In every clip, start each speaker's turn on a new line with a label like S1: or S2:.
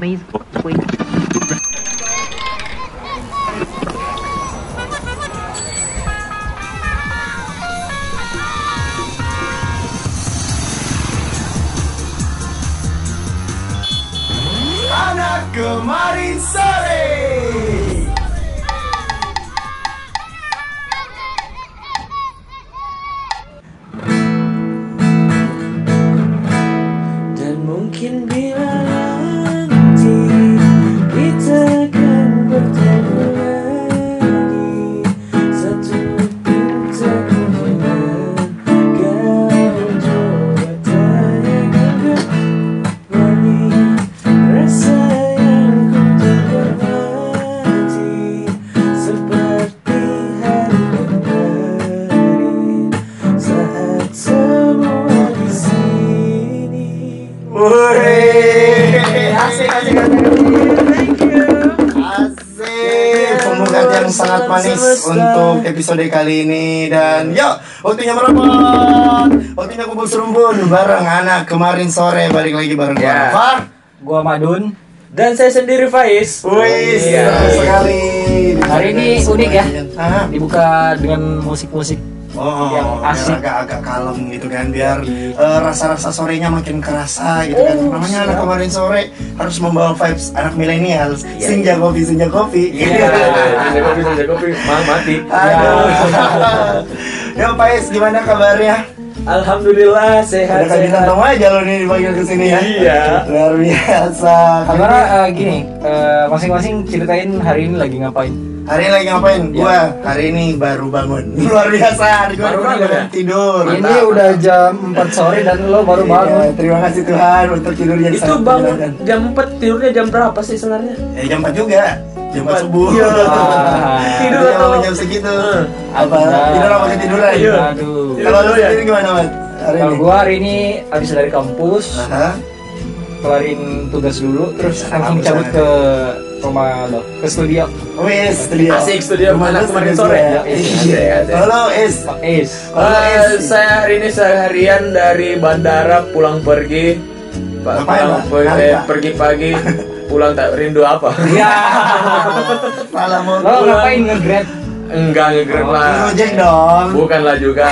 S1: maze quake.
S2: Anak kemarin sore. Dan mungkin bila nanti kita akan bertemu lagi satu pintu dengan kau coba tanyakan kembali rasa yang ku terhormati seperti hari kemarin saat semua di sini. Woi, asik asik Thank you.
S3: Yeay, Pembukaan yang sangat manis untuk episode kali ini dan yuk waktunya merobot waktunya kumpul serumbun bareng anak kemarin sore balik lagi bareng gua
S4: Ya.
S3: Far
S4: Gua Madun.
S2: Dan saya sendiri Faiz.
S3: wih
S4: Iya.
S3: senang sekali
S4: Hari ini unik ya.
S3: Hah?
S4: Dibuka dengan musik-musik.
S3: Oh,
S4: Yang asik.
S3: agak-agak kalem gitu kan biar eh, rasa-rasa sorenya makin kerasa gitu kan.
S4: Oh,
S3: Namanya anak kemarin sore harus membawa vibes anak milenial.
S4: Iya.
S3: Senja kopi, senja kopi.
S2: Iya. kopi, senja kopi, Mang, mati.
S4: Iya.
S3: Aduh. Ya, Pais, gimana kabarnya?
S2: Alhamdulillah
S3: Ada
S2: sehat
S3: kegiatan
S2: sehat.
S3: dong aja lo nih dipanggil ke sini ya.
S2: Iya.
S3: Luar biasa.
S4: Karena eh, gini, eh, masing-masing ceritain hari ini lagi ngapain.
S3: Hari ini lagi ngapain? Gua hari ini baru bangun. Luar biasa. Hari
S2: Iya.
S3: gua
S2: Baru
S3: baru
S2: bangun
S3: bangun
S2: ya?
S3: tidur.
S4: ini udah jam 4 sore dan lo baru
S3: Iya,
S4: bangun.
S3: terima kasih Tuhan untuk tidurnya
S2: Itu bangun jam 4 tidurnya jam berapa sih sebenarnya?
S3: Eh, jam 4 juga. Jam 4 subuh.
S2: Iya.
S3: tidur
S2: Tidur
S3: atau
S2: atau-
S3: jam segitu.
S2: Eh.
S3: Apa
S4: Aduh.
S3: tidur apa ketiduran?
S2: Iya.
S4: Nah. Aduh.
S3: Kalau lu
S2: Tidur ya?
S3: sendiri gimana, Mat? Hari
S4: Kalau
S3: ini.
S4: gua hari ini habis dari kampus,
S3: Aha.
S4: kelarin tugas dulu, terus
S3: Iya,
S4: langsung
S3: kampus
S4: cabut
S3: aja.
S4: ke rumah lo, ke studio.
S3: Wis, studio.
S2: Asik, studio.
S3: Rumah
S2: Anak
S3: lu
S2: kemarin
S3: studio
S2: sore.
S3: ya?
S2: Iya, asik.
S3: Kalau lu, Is.
S4: Pak Is.
S3: Kalau
S2: Eh,
S3: Is.
S2: saya hari ini seharian dari bandara pulang pergi Pak,
S3: Ngapain,
S2: pulang
S3: Pak?
S2: pe-
S3: Ngapain,
S2: eh,
S3: Pak?
S2: pergi pagi pulang tak rindu apa
S4: Ya.
S3: Malah mau
S4: lo ngapain nge-grad?
S2: enggak ngegrab lah
S3: Gojek dong.
S2: bukanlah juga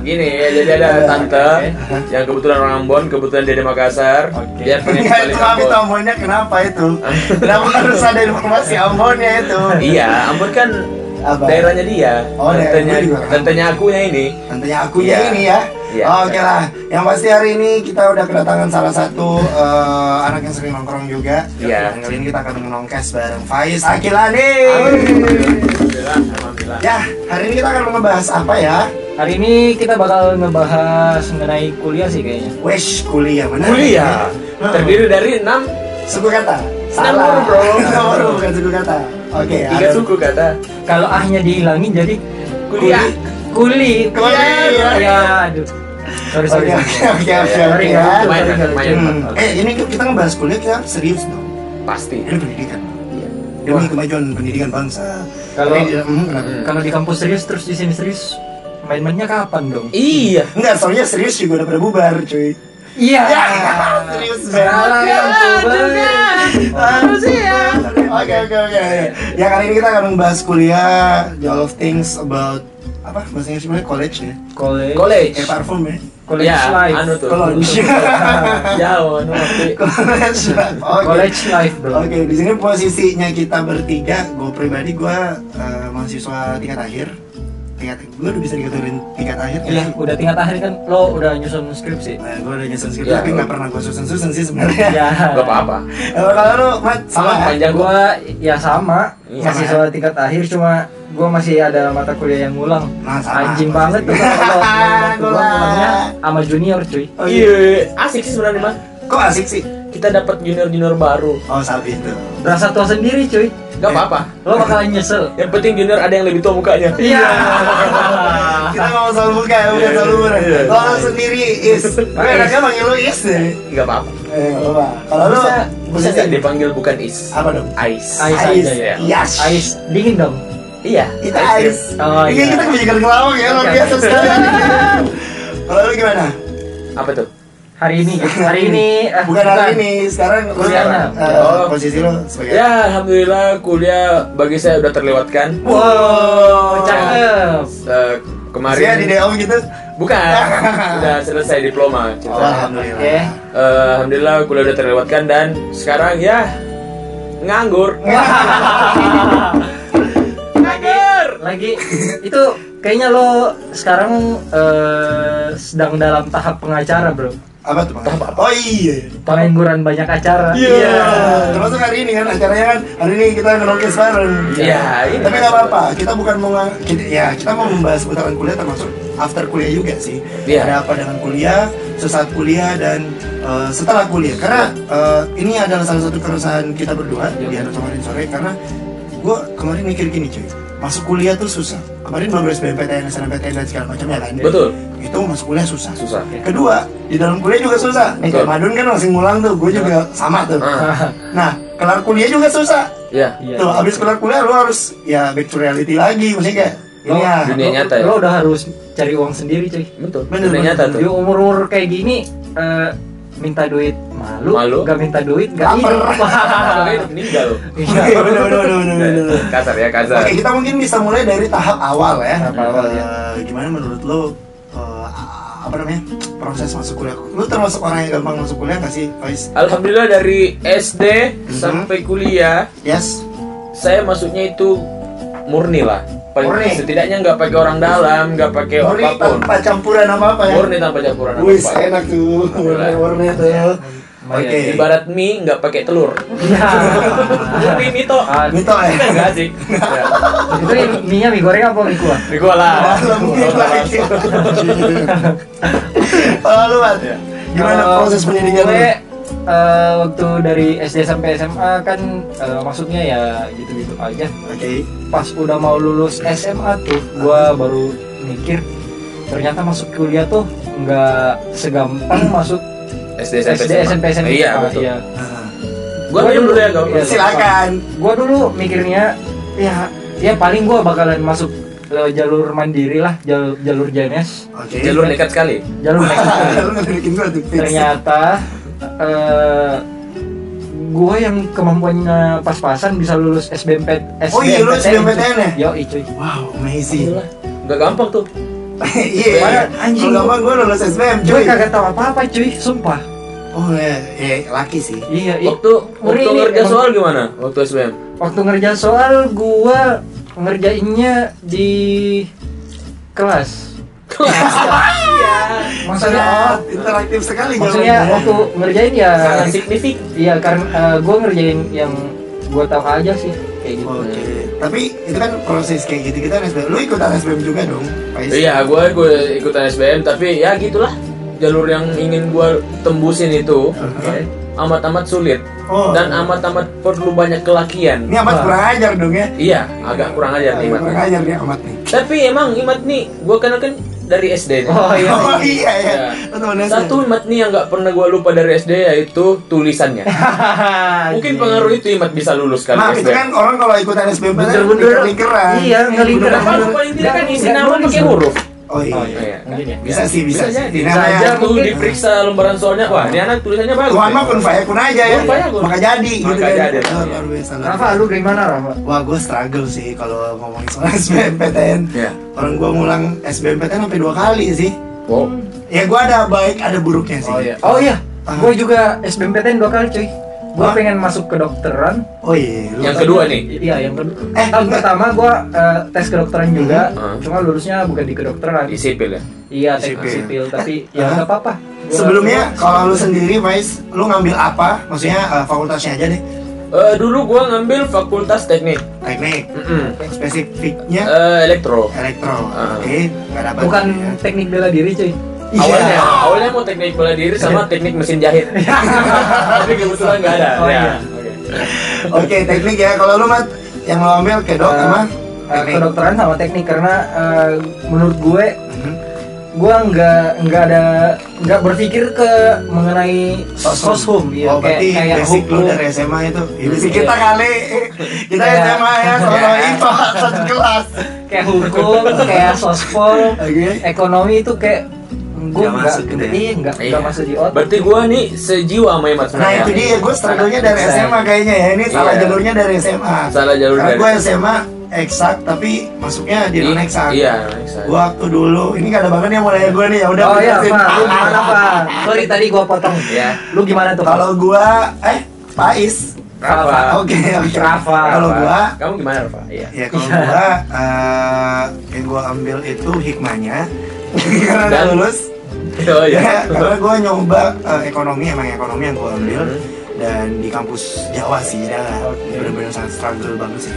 S2: gini ya jadi ada tante yang kebetulan orang Ambon kebetulan dia di Makassar
S4: Oke.
S2: dia pengen balik
S3: Enggak Ya, Iya, itu kami
S2: Ambon
S3: Ambonnya kenapa itu? Kenapa harus ada informasi Ambonnya itu?
S2: iya Ambon kan
S3: Apa?
S2: daerahnya dia
S3: Oh, daerah
S2: tantenya
S3: gue juga.
S2: tantenya akunya ini
S3: Tentunya aku
S2: Iya.
S3: ini ya.
S2: Iya.
S3: Oh, Oke lah. Yang pasti hari ini kita udah kedatangan salah satu eh, anak yang sering nongkrong juga.
S2: Iya.
S3: Dan Kali ini kita akan menongkes bareng Faiz Akilani.
S2: Alhamdulillah alhamdulillah
S3: Ya, hari ini kita akan ngebahas apa ya?
S4: Hari ini kita bakal ngebahas mengenai kuliah sih kayaknya.
S3: Wesh, kuliah mana?
S2: kuliah terdiri dari enam
S3: Suku kata.
S2: Nomor, bro.
S3: Nomor bukan suku kata. Oke.
S2: tiga
S3: Ya, ada-
S2: suku kata
S4: Kalau ahnya dihilangin jadi
S2: kuliah
S4: kuli.
S3: Kuli.
S4: Ya, aduh. Sorry, sorry.
S3: Oke,
S4: sorry.
S3: oke, oke, oke,
S4: Sorry,
S3: oke.
S4: ya.
S3: ya.
S2: Main, main, main.
S3: Hmm. Eh, ini kita ngebahas kuliah kita serius dong.
S2: pasti
S3: Ini pendidikan. Demi kemajuan pendidikan bangsa.
S4: Kalau-
S3: Ini, hmm, kenapa?
S4: Kalau di kampus serius terus di sini serius, main-mainnya kapan dong?
S2: iya
S3: enggak, soalnya serius juga udah pada bubar, cuy.
S4: Iya.
S3: Ya, serius banget. Oke, oke, oke. Ya kali ini kita akan membahas kuliah, the all of things about apa bahasanya sebenarnya college ya.
S4: College.
S2: college
S3: Kayak parfum ya.
S4: College
S2: Ya,
S4: life.
S2: anu tuh.
S3: College.
S2: jauh anu waktu-
S3: College. Oke.
S4: College life, bro.
S3: Oke, di sini posisinya kita bertiga. Gue pribadi gue mahasiswa tingkat akhir. Tingkat gue udah bisa dikategorin tingkat akhir.
S4: Iya, udah tingkat akhir kan lo udah nyusun skripsi.
S3: gue udah nyusun skripsi,
S2: Ya.
S3: tapi nggak pernah gue susun-susun sih sebenarnya.
S4: Ya.
S2: Gak apa-apa
S3: Kalau kalau lu, Mat, sama
S2: Sama
S3: ya?
S2: panjang gua
S4: Gua ya sama,
S2: Iya.
S4: masih soal tingkat akhir cuma gua masih ada mata kuliah yang ngulang.
S3: Nah, sama.
S4: Anjing banget tuh kalau
S3: Gua
S4: gua ngulangnya sama junior cuy.
S3: Oh, iya.
S2: Iya, asik sih sebenarnya mas.
S3: Kok asik sih?
S2: Kita dapat junior junior baru.
S3: Oh, sabi itu.
S4: Berasa tua sendiri cuy.
S2: Gak apa-apa.
S4: Lo bakalan nyesel.
S2: Yang penting junior ada yang lebih tua mukanya.
S4: Iya.
S3: Kita mau soal buka, ya, bukan soal umur.
S2: Iya.
S3: Kalau lu sendiri is, gue enaknya manggil lu is deh.
S2: Gak apa-apa.
S3: Eh, nggak apa. Kalau lu
S2: Bisa, bisa
S3: posisi-
S2: nggak dipanggil bukan is?
S3: apa dong?
S2: Ais.
S4: Ais. aja ya.
S3: Yes.
S4: Ais dingin dong.
S2: Iya.
S3: Kita ais.
S4: Oh,
S3: Iya,
S4: iya.
S3: kita kebijakan kelawang ya, luar
S4: Oke.
S3: biasa sekali. Kalau lu gimana?
S2: Apa tuh?
S4: hari ini gitu. hari ini eh,
S3: Bukan hari ini, sekarang lu
S4: Kuliahnya.
S3: eh,
S2: Oh.
S3: posisi lu sebagai
S2: Ya, alhamdulillah kuliah bagi saya udah terlewatkan.
S3: Wow,
S4: cakep
S2: Eh, kemarin
S3: Maksudnya di DO gitu.
S2: bukan udah selesai diploma.
S3: Oh,
S2: ceritanya.
S3: Alhamdulillah.
S4: Oke.
S2: Eh, alhamdulillah kuliah udah terlewatkan dan sekarang ya nganggur. nganggur.
S4: lagi itu kayaknya lo sekarang eh, sedang dalam tahap pengacara bro
S3: Apa tuh? Bang? Oh iya.
S4: pengangguran banyak acara
S2: Iya.
S3: Termasuk hari ini kan acaranya kan hari ini kita ngelukis bareng.
S2: Iya, ini.
S3: Tapi nggak apa-apa. Kita bukan mau ngang- kita, ya kita mau membahas putaran kuliah termasuk after kuliah juga sih.
S2: Iya.
S3: Ada apa dengan kuliah, sesaat kuliah dan eh, setelah kuliah. Karena eh, ini adalah salah satu keresahan kita berdua
S2: Iya.
S3: di anak kemarin sore karena gue kemarin mikir gini cuy. Masuk kuliah tuh susah. Kemarin baru SBMPTN, SNMPTN dan segala macamnya kan.
S2: Betul.
S3: Itu masuk kuliah susah.
S2: Susah.
S3: Kedua, di dalam kuliah juga susah. Nih,
S2: Betul. Iya.
S3: Kak Madun kan masih ngulang tuh, gue juga sama tuh.
S2: Ah.
S3: Nah, kelar kuliah juga susah.
S2: Ya.
S4: Iya.
S3: Tuh, abis kelar kuliah lu harus ya back to reality lagi, maksudnya kayak ini
S4: Lo-
S3: ya.
S2: dunia
S4: lo-
S2: nyata ya?
S4: lo udah harus cari uang sendiri cuy
S2: Betul.
S3: Bener,
S2: Dunia
S3: bener.
S2: nyata
S4: Di
S2: tuh.
S4: umur umur kayak gini eh, minta duit malu,
S2: Malu.
S4: gak minta duit gak
S3: Laper. Ah.
S2: Makanya
S4: hidup.
S2: meninggal.
S4: Iya.
S3: Oke, bener, bener, bener, bener, bener, bener.
S2: Kasar ya, kasar.
S3: Oke, kita mungkin bisa mulai dari tahap awal ya.
S4: Tahap awal,
S3: Eh,
S2: iya.
S4: ya.
S3: Gimana menurut lu eh, apa namanya proses masuk kuliah? Lu termasuk orang yang gampang masuk kuliah gak sih, Faiz?
S2: Alhamdulillah dari SD
S3: Mhm.
S2: sampai kuliah
S3: Yes.
S2: saya masuknya itu murni lah. Paling-
S3: Murni.
S2: Setidaknya nggak pakai orang dalam, nggak pakai
S3: Murni
S2: Iya, apapun.
S3: tanpa campuran apa apa ya.
S2: Murni tanpa campuran
S3: Wis
S2: apa.
S3: enak tuh,
S2: Alhamdulillah.
S3: warna-warna itu ya. Oke.
S2: Ibarat mie nggak pakai telur.
S4: Iya.
S2: Murni mie toh.
S4: Ah,
S3: Mito ya.
S2: Nggak asik. Ya.
S4: Itu mie nya mie goreng apa mie kuah?
S2: Ini gua lah.
S3: Dalam mungkin lagi. Kalau lu, Mat,
S2: Iya.
S3: gimana
S4: Kalau
S3: proses pendidikan lu?
S4: gue, eh, waktu dari SD sampai SMA kan eh, maksudnya ya gitu-gitu aja.
S3: Oke.
S4: Pas udah mau lulus SMA tuh, gua baru mikir ternyata masuk kuliah tuh nggak segampang masuk
S2: SD
S4: SD SMP SMA.
S2: Iya betul.
S4: Iya.
S3: Ah.
S2: Gua dulu dulu ya gak
S4: Iya.
S3: Silakan.
S4: Gua dulu mikirnya ya ya paling gua bakalan masuk eh, jalur mandiri lah, jalur jalur JNS,
S3: Oke.
S2: Jalur nekat sekali.
S4: jalur naik.
S3: Lu ngelirik gua tuh. fix.
S4: ternyata eh gue yang kemampuannya pas-pasan bisa lulus SBMPT
S3: Oh iya, lu SBMPTN ya?
S4: Yo cuy.
S3: Wow, amazing.
S4: Iya.
S2: Nggak gampang tuh.
S3: Iya.
S4: Anjing.
S3: Kalau gampang gue lulus SBM,
S4: Gue
S3: cuy.
S4: kagak tahu apa-apa cuy, sumpah.
S3: Oh iya, iya, laki sih.
S4: Iya, i-
S2: Waktu
S4: Murni
S2: waktu
S4: ini
S2: ngerja
S4: emang-
S2: soal gimana? Waktu SBM.
S4: waktu ngerjain soal gue ngerjainnya di kelas. Iya.
S3: Iya.
S4: Maksudnya oh,
S3: Sangat interaktif sekali
S4: maksudnya
S3: jawabannya.
S4: waktu ngerjain ya
S2: Sangat signifikan.
S4: iya karena gue ngerjain yang gue tahu aja sih kayak
S2: Oh,
S4: gitu.
S3: Oke. Tapi itu kan proses kayak gitu kita SBM. Lu ikutan SBM juga dong, Faiz?
S2: Iya, gue gue ikutan SBM tapi ya gitulah jalur yang ingin gue tembusin itu
S4: Oke.
S2: amat-amat sulit
S3: Oh.
S2: dan amat-amat perlu banyak kelakian.
S3: Ini
S4: Iya.
S3: amat kurang ajar dong ya.
S2: Iya, agak kurang ajar nih
S3: Agak
S2: Imat.
S3: Kurang ajar nih amat nih.
S2: Tapi emang Imat nih, gue kenal kan dari SD nih.
S4: Oh iya.
S3: Oh iya ya.
S2: Iya.
S3: Lu temen SD.
S2: Satu Imat nih yang nggak pernah gue lupa dari SD yaitu tulisannya. Mungkin pengaruh itu Imat bisa lulus kali
S3: Maaf itu
S2: SBM.
S3: kan orang kalau ikutan SBM kan
S4: Bener-bener.
S3: lingkeran.
S4: Iya, ngelingkeran.
S2: Kenapa lu paling tidak kan isi nama pakai huruf?
S3: Oh iya.
S4: Oh,
S2: Oh, iya, kan?
S4: Mungkin ya.
S3: Bisa sih, bisa sih.
S2: jadi.
S3: Namanya-
S2: Bisa aja tuh
S4: Mungkin.
S2: diperiksa lembaran soalnya, wah ini anak tulisannya bagus.
S3: Tuhan
S2: ya.
S3: mah kun faya kun aja ya.
S2: Kun faya kun.
S3: Maka jadi
S2: Maka
S3: gitu kan.
S2: jadi.
S3: Oh, luar biasa, luar
S4: Rafa, lu gimana Rafa?
S3: Wah gue struggle sih kalau ngomongin soal SBMPTN
S2: Iya.
S3: Orang gue ngulang SBMPTN sampai dua kali sih
S2: Wow.
S3: Ya gue ada baik ada buruknya sih
S2: Oh, iya.
S4: Oh iya,
S3: Ah.
S4: gue juga SBMPTN dua kali cuy. Gue
S3: Hah?
S4: pengen masuk kedokteran.
S3: Oh iya lu
S2: Yang
S3: tahu.
S2: kedua nih.
S4: Iya, yang kedua.
S3: Eh,
S4: Tahun pertama gue tes kedokteran juga,
S2: Hmm. Ah.
S4: cuma lulusnya bukan di kedokteran.
S2: Di sipil ya.
S4: Iya, teknik
S3: Sipil.
S4: sipil, tapi ya
S3: Ah.
S4: nggak apa-apa. Gua-
S3: Sebelumnya kalau lu sendiri Faiz Lu ngambil apa? Maksudnya eh, fakultasnya aja deh
S2: Eh, dulu gua ngambil fakultas teknik.
S3: Teknik
S2: Mm-mm.
S3: Spesifiknya
S2: Eh, elektro.
S3: elektro
S2: Ah.
S3: Oke nggak dapat
S4: bukan
S3: ya.
S4: teknik bela diri cuy.
S3: Iya.
S2: Awalnya, awalnya mau teknik bela diri sama teknik mesin jahit.
S3: Iya.
S2: Tapi kebetulan nggak ada.
S4: Oh,
S2: Ya. Oke.
S4: iya.
S3: Oke teknik ya kalau lu mat yang lo ambil ke dok
S4: Eh,
S3: sama
S4: Eh,
S3: teknik.
S4: kedokteran sama teknik karena eh, menurut gue
S3: Mhm.
S4: gue nggak nggak ada nggak berpikir ke mengenai
S3: Soshum.
S4: soshum iya
S3: oh, berarti basic lu dari SMA itu. Ya, basic kita kali kita
S4: Kayak-
S3: SMA ya sama
S4: Iya.
S3: IPA satu kelas.
S4: kayak hukum, kayak sospol,
S3: Oke.
S4: ekonomi itu kayak
S1: Nggak
S4: gue nggak
S1: masuk gitu ya?
S4: iya nggak
S2: Iya.
S4: nggak masuk di otak
S2: Berarti gua nih sejiwa sama Imat
S3: Nah
S2: sebenarnya.
S3: itu dia, gue struggle-nya dari
S4: Bisa.
S3: SMA kayaknya ya Ini salah
S2: Iya.
S3: jalurnya dari SMA
S2: Salah jalur
S3: Karena
S2: dari-
S3: gue SMA eksak, tapi masuknya di non eksak
S2: Iya, non-eksak.
S3: Waktu dulu, ini kadang banget yang mulai gue nih, ya udah
S4: oh iya
S3: beresin.
S4: pak lu gimana pak sorry tadi gue potong
S2: Iya.
S4: lu gimana tuh
S3: Kalau gue, eh Pais
S2: Rafa.
S3: Oke, oke
S4: Rafa.
S3: Kalau gue,
S2: kamu gimana Rafa? Iya.
S3: ya kalau gue, eh, yang gue ambil itu hikmahnya Karena udah
S2: Dan-
S3: lulus
S2: Oh
S3: ya,
S2: iya.
S3: karena gue nyoba eh, ekonomi emang ekonomi yang gue ambil
S2: Hmm.
S3: dan di kampus Jawa sih ya
S4: Oke.
S3: bener-bener sangat struggle banget sih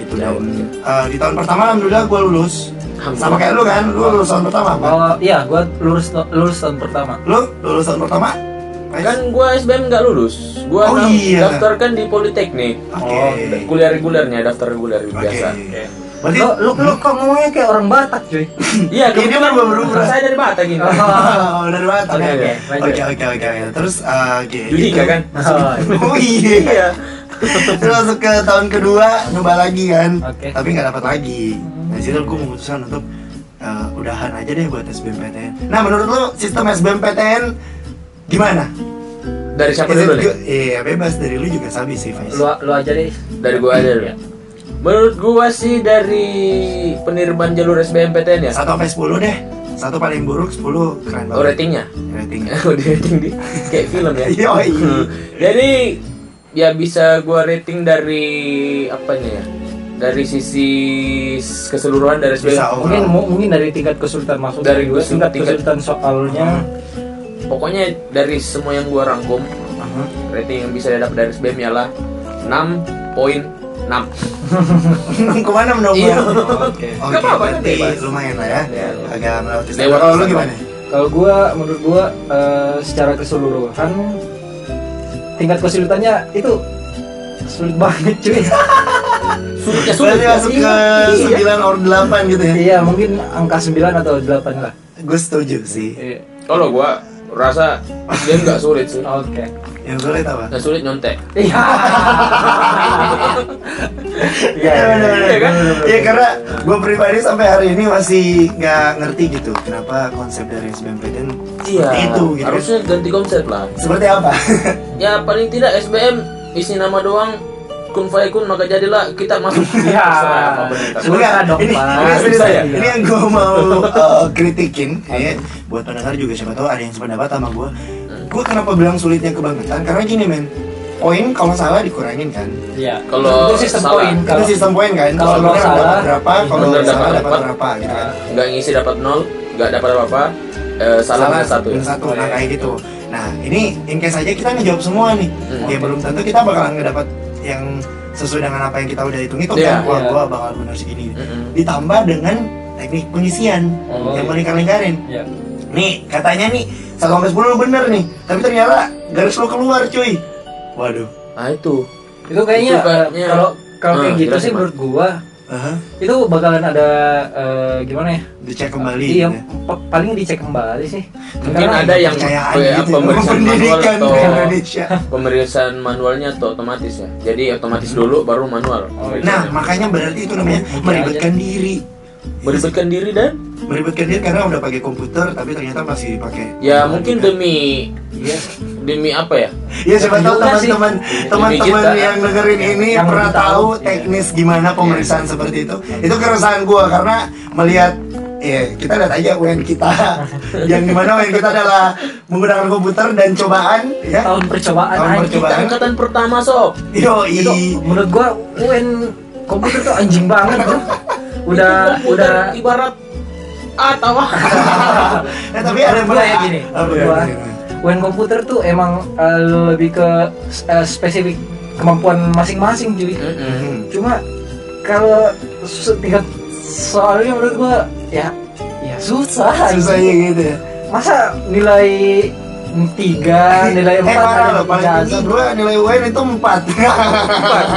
S3: gitu dan
S2: Jawa, ya.
S3: eh, di tahun pertama alhamdulillah gue lulus
S2: Alhamdulillah.
S3: sama kayak lu kan lu lulus tahun pertama apa?
S4: oh iya gue lulus lulus tahun pertama
S3: lu lulus tahun pertama Iya, Guys?
S2: Kan gua SBM nggak lulus. Gua
S3: Oh,
S2: daftarkan
S3: iya.
S2: daftar kan di Politeknik.
S3: Oke.
S2: Oh, kuliah regulernya daftar reguler
S3: Oke.
S2: biasa.
S3: berarti
S4: lo lu, lu kok ngomongnya kayak orang Batak cuy
S2: Iya, kebetulan
S3: baru berubah.
S2: Saya dari Batak ini.
S3: Oh, dari Batak,
S2: Oke,
S3: oke.
S2: oke, lanjut.
S3: Oke, oke, oke. Terus, eh, oke.
S2: Yudika
S3: gitu.
S2: kan?
S4: Oh, iya.
S3: Oh iya.
S2: Iya.
S3: Terus masuk ke tahun kedua nyoba lagi kan,
S4: Oke.
S3: tapi nggak dapat lagi. Nah situ gue memutuskan untuk eh, udahan aja deh buat SBMPTN. Nah menurut lo sistem SBMPTN gimana?
S2: Dari siapa
S3: Is it
S2: dulu nih?
S3: good? Iya bebas dari lu juga sabi sih Faiz.
S4: lu lu aja deh
S2: Dari gua aja dulu.
S4: Iya.
S2: Menurut gua sih dari penerimaan jalur SBMPTN ya.
S3: Satu sampai sepuluh deh. Satu paling buruk sepuluh keren
S2: Oh,
S3: banget.
S2: ratingnya.
S3: Ratingnya.
S2: Oh, di rating di kayak film ya.
S3: Yoi.
S2: Hmm. Jadi ya bisa gua rating dari apanya ya? Dari sisi s- keseluruhan dari SBM.
S3: Bisa overall.
S4: mungkin mu- mungkin dari tingkat kesulitan masuk
S2: Dari
S4: juga
S2: kesulitan-
S4: tingkat
S2: tingkat-
S4: kesulitan soalnya
S3: Hmm.
S2: Pokoknya dari semua yang gua rangkum,
S3: uh-huh.
S2: rating yang bisa dapat dari SBM ialah 6.6.
S3: Kemana menunggu?
S2: Iya.
S3: Oke. Oke.
S2: Nggak apa-apa, kan
S3: Berarti
S2: bebas.
S3: lumayan lah ya.
S2: Iya.
S3: Agak melewati.
S2: Lewat
S3: Kalau lu
S2: sama.
S3: gimana?
S4: Kalau gua menurut gua eh, secara keseluruhan tingkat kesulitannya itu sulit banget cuy.
S2: Sulitnya Ya, sulit.
S3: Berarti masuk ke
S4: Iya.
S3: sembilan or delapan gitu ya?
S4: iya, mungkin angka 9 atau 8 lah.
S3: Gue setuju sih.
S4: Iya.
S2: Kalau gua rasa dia nggak sulit sih.
S4: Oke.
S3: Yang sulit apa?
S2: Nggak sulit nyontek.
S4: Iya.
S3: Iya
S2: Iya
S3: bener, bener,
S2: kan?
S3: bener, bener. Iya, karena gue pribadi sampai hari ini masih nggak ngerti gitu kenapa konsep dari SBMPTN
S2: Iya.
S3: seperti itu gitu.
S2: Harusnya ganti konsep lah.
S3: Seperti apa?
S2: Ya paling tidak SBM isi nama doang kun fayakun maka jadilah kita masuk.
S4: Iya.
S2: Terserah apa benar.
S4: Sulit lah dong,
S3: ini,
S4: Pak.
S3: ini, serius,
S2: Bisa ya?
S3: ini yang gue mau uh, kritikin ya. Buat pendengar juga siapa tahu ada yang sependapat sama gue Gue kenapa bilang sulitnya kebangetan? Karena gini men Poin kalau salah dikurangin kan
S4: Iya.
S2: Kalau
S4: itu sistem
S2: salah,
S4: poin kalau
S3: Itu sistem poin kan?
S4: kalau
S3: benar
S4: salah,
S3: dapat berapa, kalau
S2: benar
S3: salah
S2: dapat
S3: dapat
S2: dapat.
S3: berapa gitu kan
S2: Nggak ngisi dapat nol, nggak dapat apa apa. salah minus satu. ya?
S3: minus satu nah kayak gitu nah ini in case aja kita ngejawab semua nih
S2: Hmm.
S3: ya belum tentu kita bakalan ngedapat yang sesuai dengan apa yang kita udah hitung itu
S2: Iya, Hmm.
S3: kan wah
S4: iya.
S3: gua bakal benar segini
S2: Mm-mm.
S3: ditambah dengan teknik pengisian
S4: Oh,
S3: yang
S4: iya.
S3: melingkar-lingkarin
S4: Iya.
S3: nih katanya nih satu sampai sepuluh lu bener nih tapi ternyata garis lu keluar cuy waduh
S2: Nah itu.
S4: Itu kayaknya
S2: Itu kayaknya-
S4: eh, kalau kalau kayak
S2: Hmm,
S4: gitu
S2: jelasin,
S4: sih
S2: Pak.
S4: menurut gua
S3: Aha,
S4: itu bakalan ada eh, gimana ya?
S3: dicek kembali
S4: Iya,
S3: gitu ya.
S4: pa- paling dicek kembali sih.
S2: Mungkin ada yang
S3: Kepercayaan
S2: kayak
S3: gitu ya,
S2: pemeriksaan manual
S3: pendidikan
S2: atau
S3: Indonesia
S2: pemeriksaan manualnya atau otomatis ya. Jadi otomatis dulu baru manual.
S4: Oh, iya.
S3: nah makanya berarti itu namanya
S4: Mungkin
S3: meribetkan diri
S2: Beribetkan diri dan
S3: meribetkan diri karena udah pakai komputer tapi ternyata masih pakai
S2: ya mungkin demi
S4: Iya.
S2: demi apa ya?
S3: ya siapa tahu
S4: Juga sih.
S3: teman-teman teman-teman
S2: Demi kita.
S3: yang dengerin ini
S4: Yang
S3: pernah
S4: lebih tahu,
S3: tahu
S4: iya.
S3: teknis gimana pemeriksaan seperti itu itu keresahan gua karena melihat ya kita lihat aja UN kita yang dimana UN kita adalah menggunakan komputer dan cobaan ya
S4: Tahun percobaan
S3: Tahun
S4: anjing.
S3: percobaan.
S2: Angkatan pertama sob.
S3: yoi
S4: itu menurut gua UN komputer tuh anjing banget tuh udah
S2: Itu komputer
S4: udah
S2: ibarat atau
S3: nah, tapi ada
S4: Menurut gua ya gini,
S3: Apa
S4: menurut
S3: ya?
S4: gua. UN komputer tuh emang eh, lebih ke eh, spesifik kemampuan masing-masing cuy
S3: Hmm.
S4: cuma kalau su- tingkat soalnya menurut gua ya ya susah
S3: susahnya gitu ya
S4: masa nilai tiga nilai
S3: eh
S4: empat
S3: parah
S4: ada
S3: loh paling
S4: penjelasan.
S3: tinggi gua nilai UN itu 4
S2: Empat.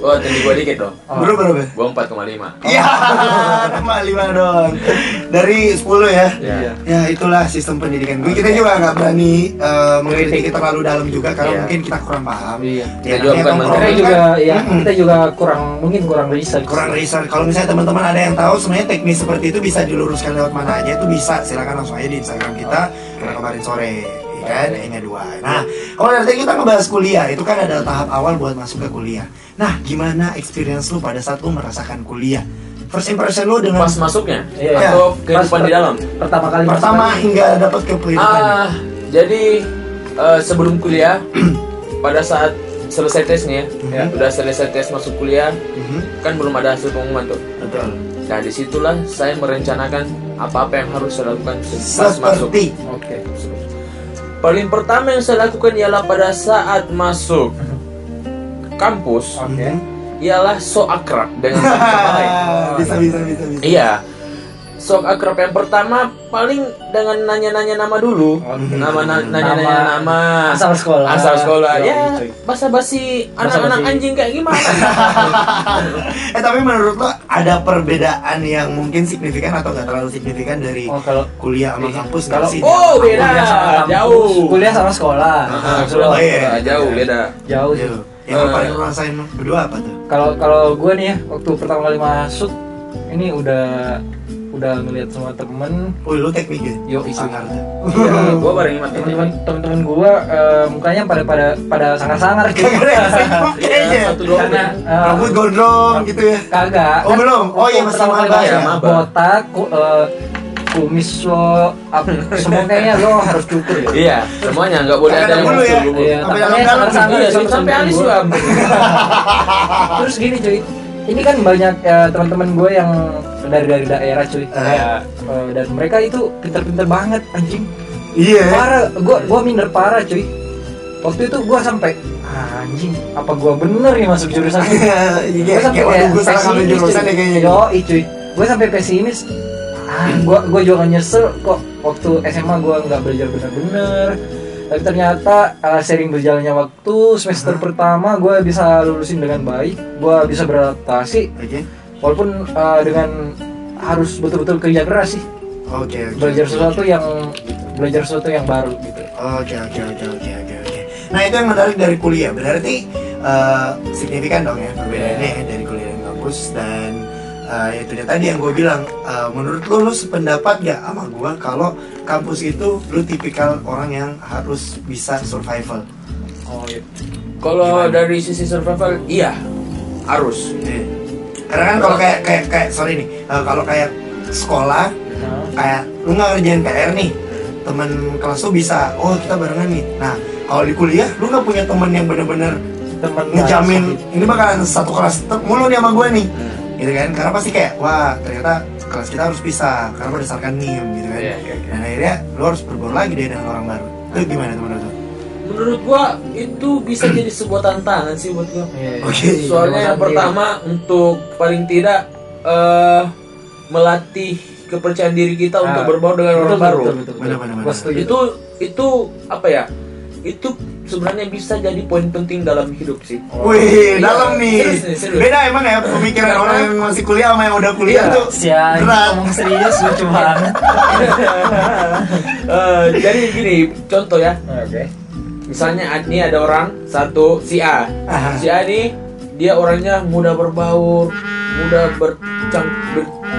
S2: Oh, tinggi gua dikit dong.
S4: Oh.
S3: Bro berapa?
S2: Gua 4,5.
S3: Ya, cuma lima doang. Dari 10 ya.
S2: Oh. Iya.
S3: Ya itulah sistem pendidikan gue. Kita juga nggak berani eh, mengkritik terlalu dalam juga karena
S2: Iya.
S3: mungkin kita kurang paham.
S4: Iya.
S2: Kita juga iya.
S3: namanya
S2: bukan
S3: nongkrong
S4: Kita
S2: menteri
S3: kan.
S4: juga ya
S3: Mm-mm.
S4: kita juga kurang mungkin kurang riset.
S3: kurang riset. Kalau misalnya teman-teman ada yang tahu sebenarnya teknis seperti itu bisa diluruskan lewat mana aja itu bisa. Silakan langsung aja di Instagram kita karena kemarin sore ya kan hanya dua. Nah, kalau dari tadi kita ngebahas kuliah, itu kan ada tahap awal buat masuk ke kuliah. Nah, gimana experience lu pada saat lu merasakan kuliah? First impression lu dengan
S2: Pas masuknya
S4: Iya.
S2: atau
S4: Pas
S2: kehidupan di
S4: per-
S2: dalam?
S4: Pertama kali masuk
S3: pertama
S4: lagi.
S3: hingga dapat ke kehidupan.
S2: Ah, jadi eh, sebelum kuliah pada saat selesai tesnya,
S3: Ya.
S2: udah selesai tes masuk kuliah,
S3: Mhm,
S2: kan belum ada hasil pengumuman tuh.
S3: Betul.
S2: Nah, disitulah saya merencanakan apa-apa yang harus saya lakukan pas masuk.
S3: Seperti
S4: Oke.
S2: Paling pertama yang saya lakukan ialah pada saat masuk kampus,
S4: Oke.
S3: Ya.
S2: ialah so akrab dengan teman lain.
S3: Ah, bisa bisa bisa bisa.
S2: Iya. Sok akrab yang pertama paling dengan nanya-nanya nama dulu.
S4: Oke.
S2: Nama na- nanya-nanya
S4: Nama.
S2: nama.
S4: Asal sekolah.
S2: Asal sekolah.
S4: Yoi,
S2: Ya,
S4: cuy.
S2: basa-basi anak-anak
S4: Basa-basi.
S2: anjing kayak gimana?
S3: Eh tapi menurut lo ada perbedaan yang mungkin signifikan atau nggak terlalu signifikan dari
S4: Oh kalau
S3: kuliah sama kampus nggak
S4: kalau
S3: sih? Iya.
S2: Oh, beda.
S4: kuliah sama kampus,
S2: Jauh.
S4: Kuliah sama sekolah. ya.
S3: Ah,
S4: Jauh.
S3: oh, iya.
S2: Nah, jauh beda.
S4: Jauh. sih.
S3: Jauh. Yang lo
S4: Iya.
S2: Eh.
S3: paling
S4: Ah.
S3: lo rasain berdua apa tuh?
S4: Kalau kalau gue nih ya waktu pertama kali masuk ini udah udah ngeliat semua temen
S3: Oh lo teknik ya?
S4: Yo, isu.
S3: Sangar tuh.
S2: Iya, gua bareng Iman.
S4: temen-temen temen-temen gue mukanya pada pada pada sangar-sangar gitu
S3: Kagak ada yang sibuk kayaknya.
S2: Iya, satu dua
S4: karena eh,
S3: Ah. Rambut gondrong gitu ya?
S4: kagak Kan
S3: Oh, belum? Oh, iya, masih
S4: pertama kali
S3: maba
S2: ya?
S4: masuk, botak ku- eh, kumis lo up, semua kayaknya lo harus cukur ya
S2: Iya, semuanya nggak boleh
S3: Kagak
S2: ada yang
S3: dulu ya?
S2: muncul dulu.
S4: Iya,
S3: Sampai
S4: takutnya
S3: dalam dalam.
S4: sangar-sangar
S2: Iya,
S4: ya, sama
S2: sampai
S4: temen
S2: alis
S4: gua.
S2: juga.
S4: terus gini cuy ini kan banyak eh, teman-teman gue yang dari dari daerah cuy Kayak, eh, dan mereka itu pinter-pinter banget anjing
S3: Iya.
S4: parah gua gua minder parah cuy waktu itu gua sampai "Ah, anjing apa gua bener nih masuk jurusan ini
S3: Iya, kayak- kayak waduh gue salah ngambil jurusan ya kayaknya.
S4: yo cuy gue sampai pesimis ah gue gue juga nyesel kok waktu SMA gue nggak belajar benar-benar tapi ternyata eh, sering berjalannya waktu semester pertama gue bisa lulusin dengan baik gue bisa beradaptasi
S3: Oke.
S4: walaupun eh, dengan harus betul-betul kerja keras sih
S3: Oke. oke.
S4: belajar sesuatu yang belajar sesuatu yang baru gitu
S3: Oke oke oke oke oke oke. Nah itu yang menarik dari kuliah berarti eh, signifikan dong ya perbedaannya ya, dari kuliah dan kampus dan eh, itu dia tadi yang gue bilang eh, menurut lo lo sependapat gak sama gue kalau kampus itu lo tipikal orang yang harus bisa survival.
S4: oh iya
S2: Kalau
S3: Gimana?
S2: dari sisi survival, iya harus.
S3: Iya. Karena kan kalau kayak kayak kayak sorry nih eh, kalau kayak sekolah kayak lu nggak ngerjain PR nih temen kelas lu bisa oh kita barengan nih nah kalau di kuliah lu nggak punya temen yang bener-bener
S4: teman
S3: ngejamin
S2: gitu.
S3: ini bakalan satu kelas te- mulu nih sama gue nih
S2: Hmm.
S3: gitu kan karena pasti kayak wah ternyata kelas kita harus pisah karena berdasarkan NIM gitu kan
S2: Iya, iya, iya.
S3: dan akhirnya lu harus berbaur lagi deh dengan orang baru itu gimana temen lu
S2: Menurut gua itu bisa jadi sebuah tantangan sih buat gua.
S4: Iya,
S3: Oke.
S2: Soalnya yang pertama untuk paling tidak eh melatih kepercayaan diri kita
S4: Ah,
S2: untuk berbaur dengan orang baru.
S3: Benar, benar, benar.
S4: Gua setuju.
S2: Itu itu apa ya? Itu sebenarnya bisa jadi poin penting dalam hidup sih.
S3: Wih,
S2: Iya,
S3: dalam nih.
S2: serius nih, serius.
S3: Beda emang ya pemikiran
S2: Karena-
S3: orang yang masih kuliah sama yang udah kuliah
S2: Iya.
S3: tuh.
S4: Sia, ini
S3: Berat.
S4: ngomong serius lucu banget.
S2: Eh, jadi gini, contoh ya.
S4: Oke.
S2: Misalnya ad- ini ada orang satu si A.
S3: Aha.
S2: Si A ini dia orangnya mudah berbaur, mudah bercang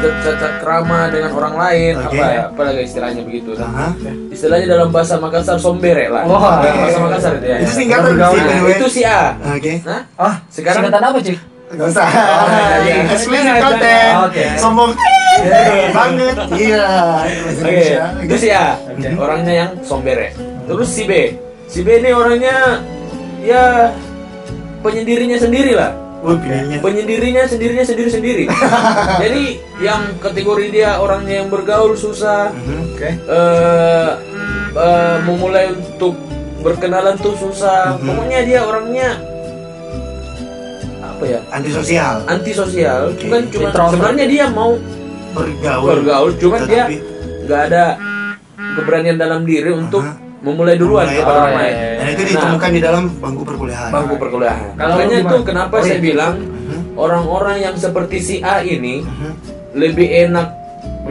S2: bercakramah dengan orang lain,
S3: Oke. Ah.
S2: apa ya, apalagi istilahnya begitu.
S3: Hah?
S2: Istilahnya dalam bahasa Makassar sombere lah.
S4: Wah.
S2: dalam bahasa Makassar itu ya.
S3: iya, Itu singkatan
S4: Bergaul.
S3: sih, by the
S2: Nah,
S3: way.
S2: itu si A.
S3: Oke.
S2: Nah,
S4: Ah,
S2: Sekarang-
S4: singkatan apa cuy?
S3: Gak usah.
S2: iya.
S3: Exclusive
S4: Iya,
S3: content.
S4: oke.
S3: Sombong banget. Iya. Bahasa
S2: Oke,
S3: Indonesia.
S2: itu si A, orangnya yang sombere. Terus si B, si B ini orangnya ya penyendirinya sendiri lah.
S3: Wah, pilihannya.
S2: Penyendirinya sendirinya sendiri sendiri. Jadi yang kategori dia orangnya yang bergaul susah,
S3: Mhm.
S4: Oke.
S2: eh eh, memulai untuk berkenalan tuh susah.
S3: Mhm.
S2: Pokoknya dia orangnya apa ya?
S3: Antisosial.
S2: Antisosial.
S3: Oke.
S2: Bukan cuma
S4: Introvert.
S2: sebenarnya dia mau
S3: Bergaul.
S2: bergaul, cuman dia
S3: Tetapi-
S2: nggak ada keberanian dalam diri untuk
S3: Aha. Oh,
S2: memulai duluan
S3: Mulai
S2: kalau
S3: duluan.
S2: orang lain.
S3: iya, Dan itu
S2: Nah,
S3: ditemukan di dalam bangku perkuliahan. Mhm,
S2: bangku perkuliahan.
S4: Kalau
S2: Makanya
S4: lu
S2: itu
S4: gimana?
S2: kenapa
S4: Oh,
S2: saya
S4: iya.
S2: bilang orang-orang yang seperti si A ini lebih enak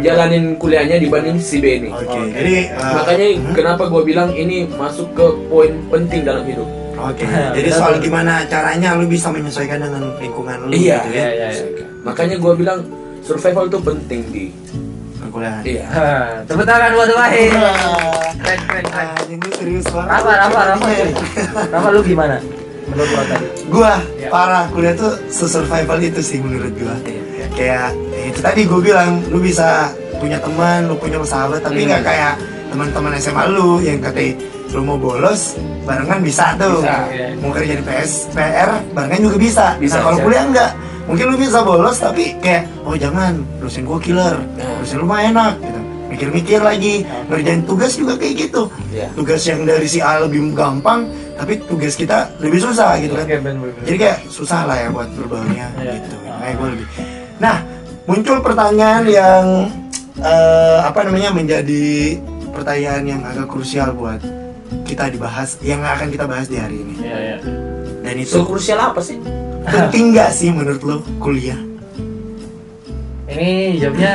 S2: jalanin kuliahnya dibanding si B ini.
S3: Oke, jadi uh,
S2: Makanya kenapa gue bilang ini masuk ke poin penting dalam hidup.
S3: Oke,
S2: Nah,
S3: jadi soal gimana caranya lu bisa menyesuaikan dengan lingkungan lu
S2: Iya,
S3: gitu ya.
S4: iya, iya, iya.
S2: Makanya gue bilang survival itu penting di.
S3: Perkuliahan.
S2: Iya.
S4: Hah, Tepuk tangan buat Wahid.
S3: Wah,
S4: Keren, keren, keren.
S3: anjing, lu Ah, serius banget.
S4: Rafa, Rafa, Rafa. Rafa lu gimana? Menurut lo tadi.
S3: gua
S4: Iya.
S3: parah kuliah tuh survival itu sih menurut gua
S2: Iya.
S3: kayak ya itu tadi gua bilang lu bisa punya teman lu punya sahabat
S2: Iya.
S3: tapi nggak kayak teman-teman SMA lu yang kata lu mau bolos barengan bisa tuh
S2: Bisa,
S4: iya.
S3: mau kerja di PS PR barengan juga bisa
S2: Bisa,
S3: Nah, kalau
S2: bisa.
S3: kuliah enggak mungkin lu bisa bolos tapi kayak oh jangan lurusin gua killer
S2: Iya.
S3: lurusin lu mah enak gitu mikir-mikir lagi ngerjain tugas juga kayak gitu
S2: Iya.
S3: tugas yang dari si A lebih gampang tapi tugas kita lebih susah gitu kan
S4: Oke, Ben, bener, bener.
S3: jadi kayak susah lah ya buat berbaurnya
S4: Iya.
S3: gitu makanya gue lebih nah muncul pertanyaan yang eh, apa namanya menjadi pertanyaan yang agak krusial buat kita dibahas yang akan kita bahas di hari ini
S4: Iya, iya.
S3: dan
S2: So
S3: itu
S2: krusial apa sih?
S3: penting nggak sih menurut lo kuliah
S4: Ini jawabnya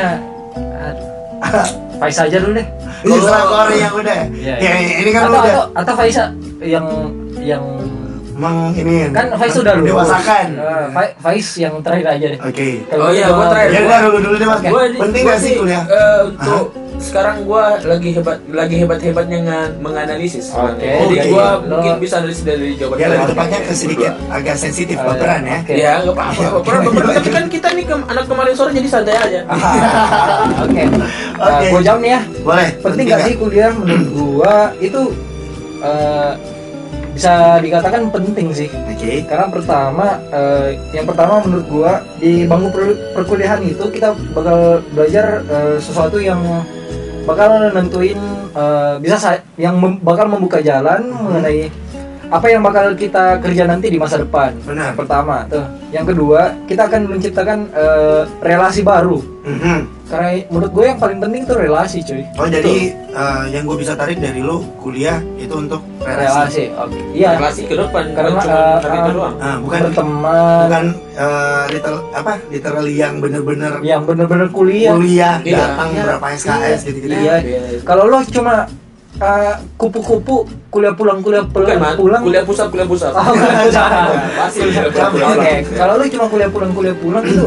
S4: ah, Faiz aja dulu deh.
S3: ini
S2: Kalau-
S3: seragor yang udah
S4: Iya,
S3: ya, ini kan
S4: atau,
S3: udah
S4: atau, atau Faiz yang yang
S3: emang ini
S4: kan Faiz udah lulus.
S3: dewasakan
S4: Eh, Fa- Faiz yang terakhir aja deh. gitu
S3: oke
S2: kan? Oh iya,
S4: gua
S2: gua terakhir.
S3: ya udah dulu dulu deh mas
S2: Gua di-
S3: penting
S2: gua
S3: nggak sih kuliah
S2: eh, untuk sekarang gue lagi hebat lagi hebat hebatnya menganalisis.
S4: Oke.
S2: Jadi
S3: Oke.
S2: gue
S4: Lo-
S2: mungkin bisa analisis dari jawaban.
S3: ya lebih
S2: kalian.
S3: tepatnya ke sedikit agak sensitif
S4: Eh,
S3: baperan ya
S4: oke.
S2: Ya nggak apa-apa. nggak apa-apa.
S3: Oke.
S2: Baperan, Tapi kan kita nih ke- anak kemarin sore jadi santai aja.
S4: Ah, Oke. Nah,
S3: Oke.
S4: gua jawab nih ya.
S3: boleh
S4: penting gak sih kuliah menurut gua itu eh, bisa dikatakan penting sih
S3: Oke.
S4: karena pertama eh, yang pertama menurut gua di bangku per- perkuliahan itu kita bakal belajar eh, sesuatu yang bakal nentuin eh, bisa sa- yang mem- bakal membuka jalan
S3: Hmm.
S4: mengenai apa yang bakal kita kerja nanti di masa depan
S3: Benar.
S4: Yang pertama tuh yang kedua kita akan menciptakan eh, relasi baru
S3: Mhm.
S4: karena menurut gue yang paling penting tuh relasi cuy
S3: Oh jadi eh, yang gue bisa tarik dari lu kuliah itu untuk relasi.
S4: relasi oke iya
S2: Relasi ke depan
S4: Karena,
S2: karena cuma
S4: eh,
S2: hari itu
S4: eh,
S2: doang.
S3: Ah, bukan
S4: berteman
S3: bukan eh, literal apa literal yang bener-bener
S4: yang bener-bener kuliah
S3: kuliah
S2: Iya.
S3: datang
S4: Iya.
S3: berapa SKS gitu-gitu. ya?
S4: iya. kalau lo cuma eh, kupu-kupu kuliah pulang kuliah
S2: Bukan
S4: pulang
S2: man.
S4: pulang
S2: Kuliah pusat kuliah pusat.
S4: Oh, kuliah pusat.
S2: Pasti kuliah
S4: oke
S2: pulang.
S4: kalau lo cuma kuliah pulang kuliah pulang itu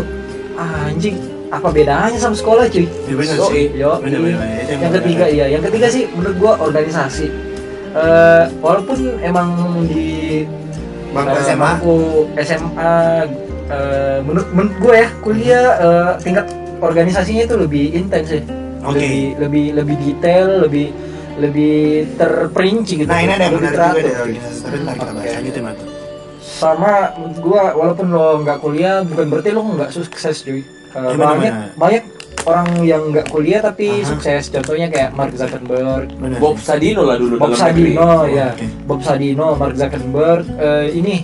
S4: anjing apa bedanya sama sekolah cuy
S3: Ya, bener
S2: Yoi.
S3: sih.
S4: Yo,
S3: Bener, bener, bener. Itu yang
S4: iya. yang
S3: bener.
S4: ketiga iya, yang ketiga sih menurut gua organisasi. Eh, walaupun emang di
S3: Bangku
S4: eh,
S3: SMA?
S4: bangku SMA eh, menurut menurut gua ya kuliah eh, tingkat organisasinya itu lebih intens sih.
S3: Oke.
S4: Lebih lebih lebih detail, lebih lebih terperinci gitu.
S3: Nah ini ada yang
S4: Lebih
S3: menarik juga
S4: teratur.
S3: dari organisasi tapi ntar kita
S4: Oke.
S3: bahas lanjutin Mat.
S4: Sama menurut gua walaupun lo nggak kuliah bukan berarti lo nggak sukses cuy. Eh,
S3: Gimana,
S4: banyak
S3: gimana?
S4: banyak orang yang nggak kuliah tapi
S3: Aha.
S4: sukses contohnya kayak Mark Zuckerberg
S3: Bener.
S2: Bob Sadino iya. lah dulu
S4: Bob
S2: dalam negeri.
S4: Sadino ya,
S3: Oh, oke.
S4: Bob Sadino, Mark Zuckerberg, eh, ini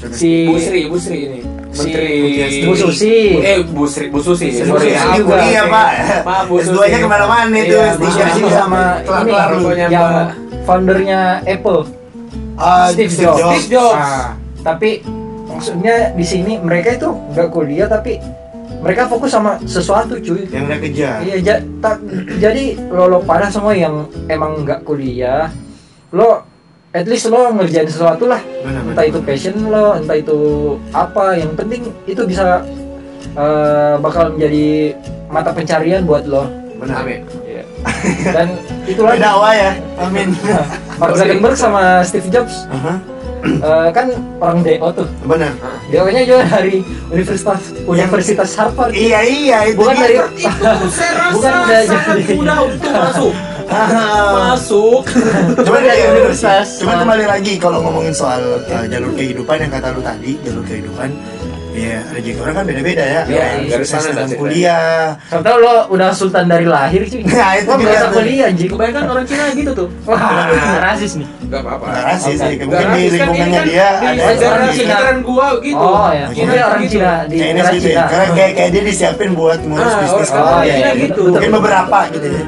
S3: Coba.
S4: si
S2: Bu Sri, Bu Sri ini.
S4: Si-
S2: Menteri
S4: Bu Susi.
S2: Eh, Bu Sri, Bu Susi. sorry.
S4: Bu Susi
S2: Ah,
S3: Iya,
S4: juga,
S3: kuliah
S4: oke.
S3: pak.
S2: Maaf, Bu
S3: S2 nya
S2: Susi.
S3: kemana-mana itu.
S2: Iya,
S3: S3
S4: Mark
S2: Susi
S4: Zuckerberg
S3: nya
S4: sama ini
S3: kelar-kelar lu.
S2: pokoknya
S4: yang
S2: Mbak.
S4: foundernya Apple,
S3: Ah,
S4: Steve Jobs.
S2: Steve Jobs.
S4: Ah, tapi maksudnya di sini mereka itu nggak kuliah tapi mereka fokus sama sesuatu cuy.
S3: Yang udah kerja.
S4: Iya, ja- ta- jadi lo lo pada semua yang emang nggak kuliah, lo at least lo ngerjain sesuatu lah
S3: Bener-bener.
S4: entah itu passion lo, entah itu apa, yang penting itu bisa eh, bakal menjadi mata pencarian buat lo.
S3: Bener.
S2: Amin.
S3: Iya.
S4: Dan itu lagi Nah,
S3: Berdakwah ya. Amin.
S4: Mark Zuckerberg sama Steve Jobs
S3: Aha.
S4: eh, kan orang DO tuh.
S3: Benar.
S4: DO-nya juga dari Universitas Universitas Harvard.
S3: Iya iya itu
S4: Bukan
S3: dia.
S4: dari
S2: Itu saya rasa
S4: Bukan udah
S2: sangat
S4: jadi.
S2: mudah untuk masuk.
S3: Ah.
S2: Masuk.
S3: Cuma
S4: dari
S3: dari
S4: universitas.
S3: Cuma kembali lagi kalau ngomongin soal uh, jalur kehidupan yang kata lu tadi, jalur kehidupan ya rezeki orang kan beda-beda ya.
S2: Iya,
S3: Ada yang
S2: dari
S3: sukses
S2: sana
S3: dalam
S2: dah
S3: kuliah.
S4: Contoh lo udah sultan dari lahir sih.
S3: Nah, itu
S4: Lo
S3: dia
S4: berasa
S3: tuh.
S4: kuliah anjing.
S2: Kebanyakan orang Cina gitu tuh.
S4: Wah,
S3: Nah.
S4: rasis nih.
S2: Enggak apa-apa.
S3: Nggak rasis
S4: Oke.
S3: sih,
S2: Nggak
S3: Nah, ya
S2: rasis, kan
S3: mungkin di
S2: ini
S3: lingkungannya
S2: kan
S3: dia
S2: di
S3: ada
S4: sejarah
S3: orang
S2: ajaran
S3: Cina.
S2: sekitaran gua gitu.
S4: Oh ya,
S3: Cina
S4: mungkin orang
S2: gitu.
S4: Cina di
S3: Chinese gitu
S4: daerah
S3: ya,
S4: Cina.
S3: karena kayak, kayak dia disiapin buat ngurus
S2: Ah, orang-
S3: bisnis
S2: Iya.
S3: keluarga
S4: oh, iya,
S3: ya.
S4: gitu.
S3: Mungkin
S4: Betul.
S3: beberapa gitu ya.
S4: Ya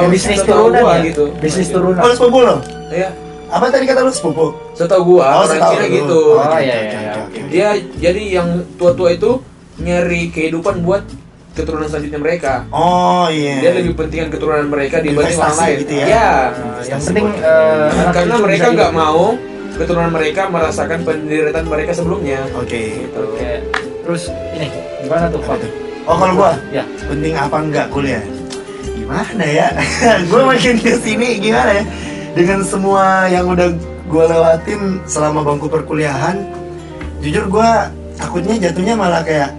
S2: Setahu-
S4: bisnis
S2: setahu
S4: turunan
S2: gua
S4: ya.
S2: gitu.
S4: Bisnis turunan.
S3: Oh, sepupu lo?
S2: Iya.
S3: Apa tadi kata lu sepupu? Oh,
S2: Setahu gua orang
S3: setahu
S2: Cina
S3: lu.
S2: gitu.
S3: Oh,
S4: Oh,
S3: oke, oke, oke,
S4: iya, iya, iya.
S3: oke, oke.
S2: Dia jadi yang tua-tua itu nyari kehidupan buat keturunan selanjutnya mereka.
S3: Oh iya.
S2: Dia lebih pentingan keturunan mereka dibanding orang
S3: Investasi
S2: lain.
S3: gitu ya?
S2: Iya.
S4: Nah,
S3: Investasi
S4: yang penting
S3: buat-
S4: eh, anak
S2: Karena
S4: cucu
S2: mereka
S4: bisa
S2: nggak
S4: hidup.
S2: mau keturunan mereka merasakan penderitaan mereka sebelumnya.
S3: Oke.
S2: Gitu.
S4: Oke. Terus ini gimana tuh Pak?
S3: Oh kalau gua
S4: Ya.
S3: penting apa enggak kuliah? Gimana ya? gua makin ke sini gimana ya? Dengan semua yang udah gua lewatin selama bangku perkuliahan, jujur gua takutnya jatuhnya malah kayak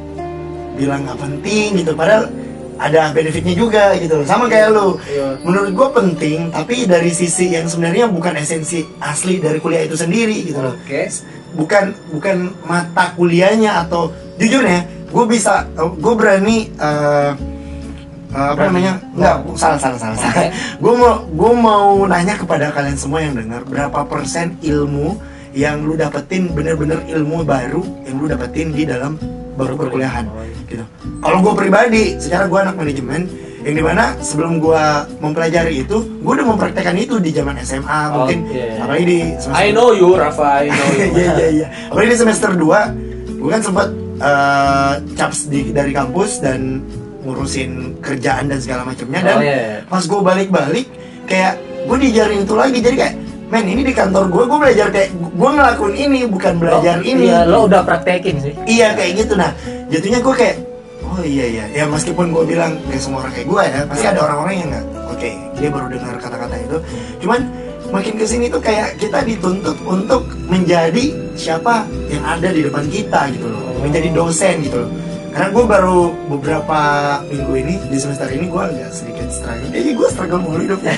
S3: bilang nggak penting gitu padahal ada benefitnya juga gitu loh. sama kayak lu
S2: Iya.
S3: menurut gue penting tapi dari sisi yang sebenarnya bukan esensi asli dari kuliah itu sendiri gitu loh
S4: Oke.
S3: bukan bukan mata kuliahnya atau jujur ya gue bisa gue berani eh, eh, apa namanya nggak bu- salah salah salah salah gue mau gue mau nanya kepada kalian semua yang dengar berapa persen ilmu yang lu dapetin bener-bener ilmu baru yang lu dapetin di dalam baru perkuliahan gitu kalau gue pribadi secara gue anak manajemen yang dimana sebelum gue mempelajari itu gue udah mempraktekkan itu di zaman SMA mungkin
S4: Oke.
S3: apalagi di semester
S2: I know you, Rafa. I know you.
S3: Iya iya iya. Apalagi di semester 2 gue kan sempat eh, caps di, dari kampus dan ngurusin kerjaan dan segala macamnya dan
S4: Oh, iya, iya.
S3: pas gue balik-balik kayak gue diajarin itu lagi jadi kayak men ini di kantor gue gue belajar kayak gue ngelakuin ini bukan belajar
S4: Lo-
S3: ini
S4: Iya, lo udah praktekin sih.
S3: Iya kayak gitu nah jatuhnya gue kayak oh iya iya ya meskipun gue bilang kayak semua orang kayak gue ya pasti ada orang-orang yang nggak oke dia baru dengar kata-kata itu cuman makin kesini tuh kayak kita dituntut untuk menjadi siapa yang ada di depan kita gitu loh menjadi dosen gitu loh karena gue baru beberapa minggu ini di semester ini gue agak sedikit struggle eh gue struggle mulu hidupnya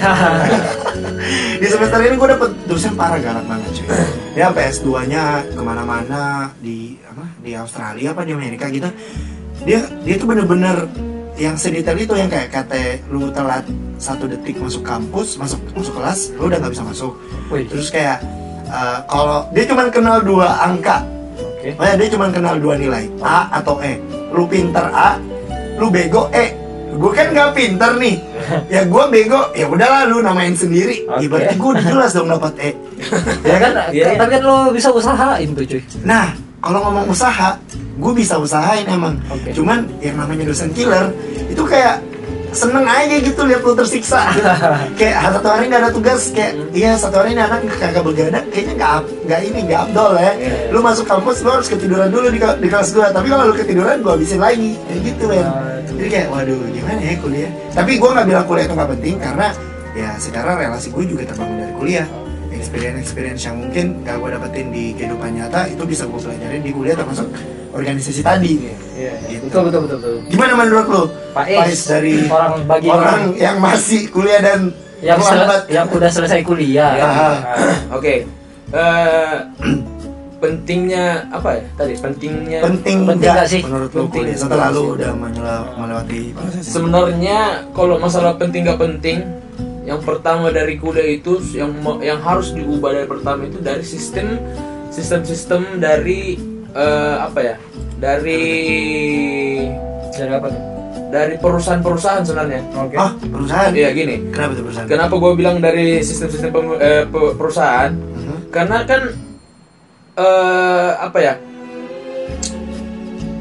S3: di semester ini gue dapet dosen parah galak banget cuy dia PS2 nya kemana-mana di apa di Australia apa di Amerika gitu dia dia tuh bener-bener yang sedetail itu yang kayak kata lu telat satu detik masuk kampus masuk masuk kelas lu udah nggak bisa masuk
S4: Wih.
S3: terus kayak eh, kalau dia cuman kenal dua angka
S4: Oke.
S3: Oh ya, dia cuma kenal dua nilai, A atau E. Lu pinter A, lu bego E. Gue kan nggak pinter nih. Ya gue bego, ya udahlah lu namain sendiri. Ya
S4: Oke.
S3: berarti gue udah jelas dong dapat E. ya kan?
S2: Iya.
S4: Tapi kan lo bisa usahain tuh cuy.
S3: Nah, kalau ngomong usaha, gue bisa usahain emang.
S4: Oke.
S3: Cuman yang namanya dosen killer itu kayak seneng aja gitu lihat lu tersiksa kayak "Ah, satu hari nggak ada tugas kayak iya satu hari ini anak kagak bergadang kayaknya nggak up- nggak ini nggak abdol ya lu masuk kampus lu harus ketiduran dulu di, ke- di kelas gua tapi kalau lu ketiduran gua habisin lagi kayak gitu ya jadi kayak waduh gimana ya kuliah tapi gua nggak bilang kuliah itu nggak penting karena ya secara relasi gue juga terbangun dari kuliah experience experience yang mungkin gak gue dapetin di kehidupan nyata itu bisa gue pelajarin di kuliah termasuk organisasi tadi
S2: Iya.
S3: gitu.
S4: Betul betul betul. betul.
S3: gimana menurut lo
S4: Pak
S3: Faiz
S4: Is,
S3: dari
S4: orang bagi
S3: orang yang masih kuliah dan
S4: yang sel-
S3: melambat?
S4: yang udah selesai kuliah.
S2: Ya,
S3: Ah.
S2: ah, Oke. Eh, pentingnya apa ya tadi? Pentingnya
S3: penting
S4: Penting
S3: nggak
S4: nggak sih?
S3: menurut lo
S2: Penting.
S3: kuliah setelah lo udah menyela- melewati proses ini?
S2: sebenarnya kalau masalah penting nggak penting, yang pertama dari kuliah itu yang mo- yang harus diubah dari pertama itu dari sistem sistem-sistem dari eh, apa ya? Dari
S4: Dari apa tuh?
S2: dari perusahaan-perusahaan sebenarnya.
S4: Oke.
S3: ah perusahaan
S2: Iya gini.
S3: kenapa tuh perusahaan
S2: Kenapa gue bilang dari sistem-sistem pemu- eh, pe- perusahaan?
S3: Mhm.
S2: Karena kan eh apa ya?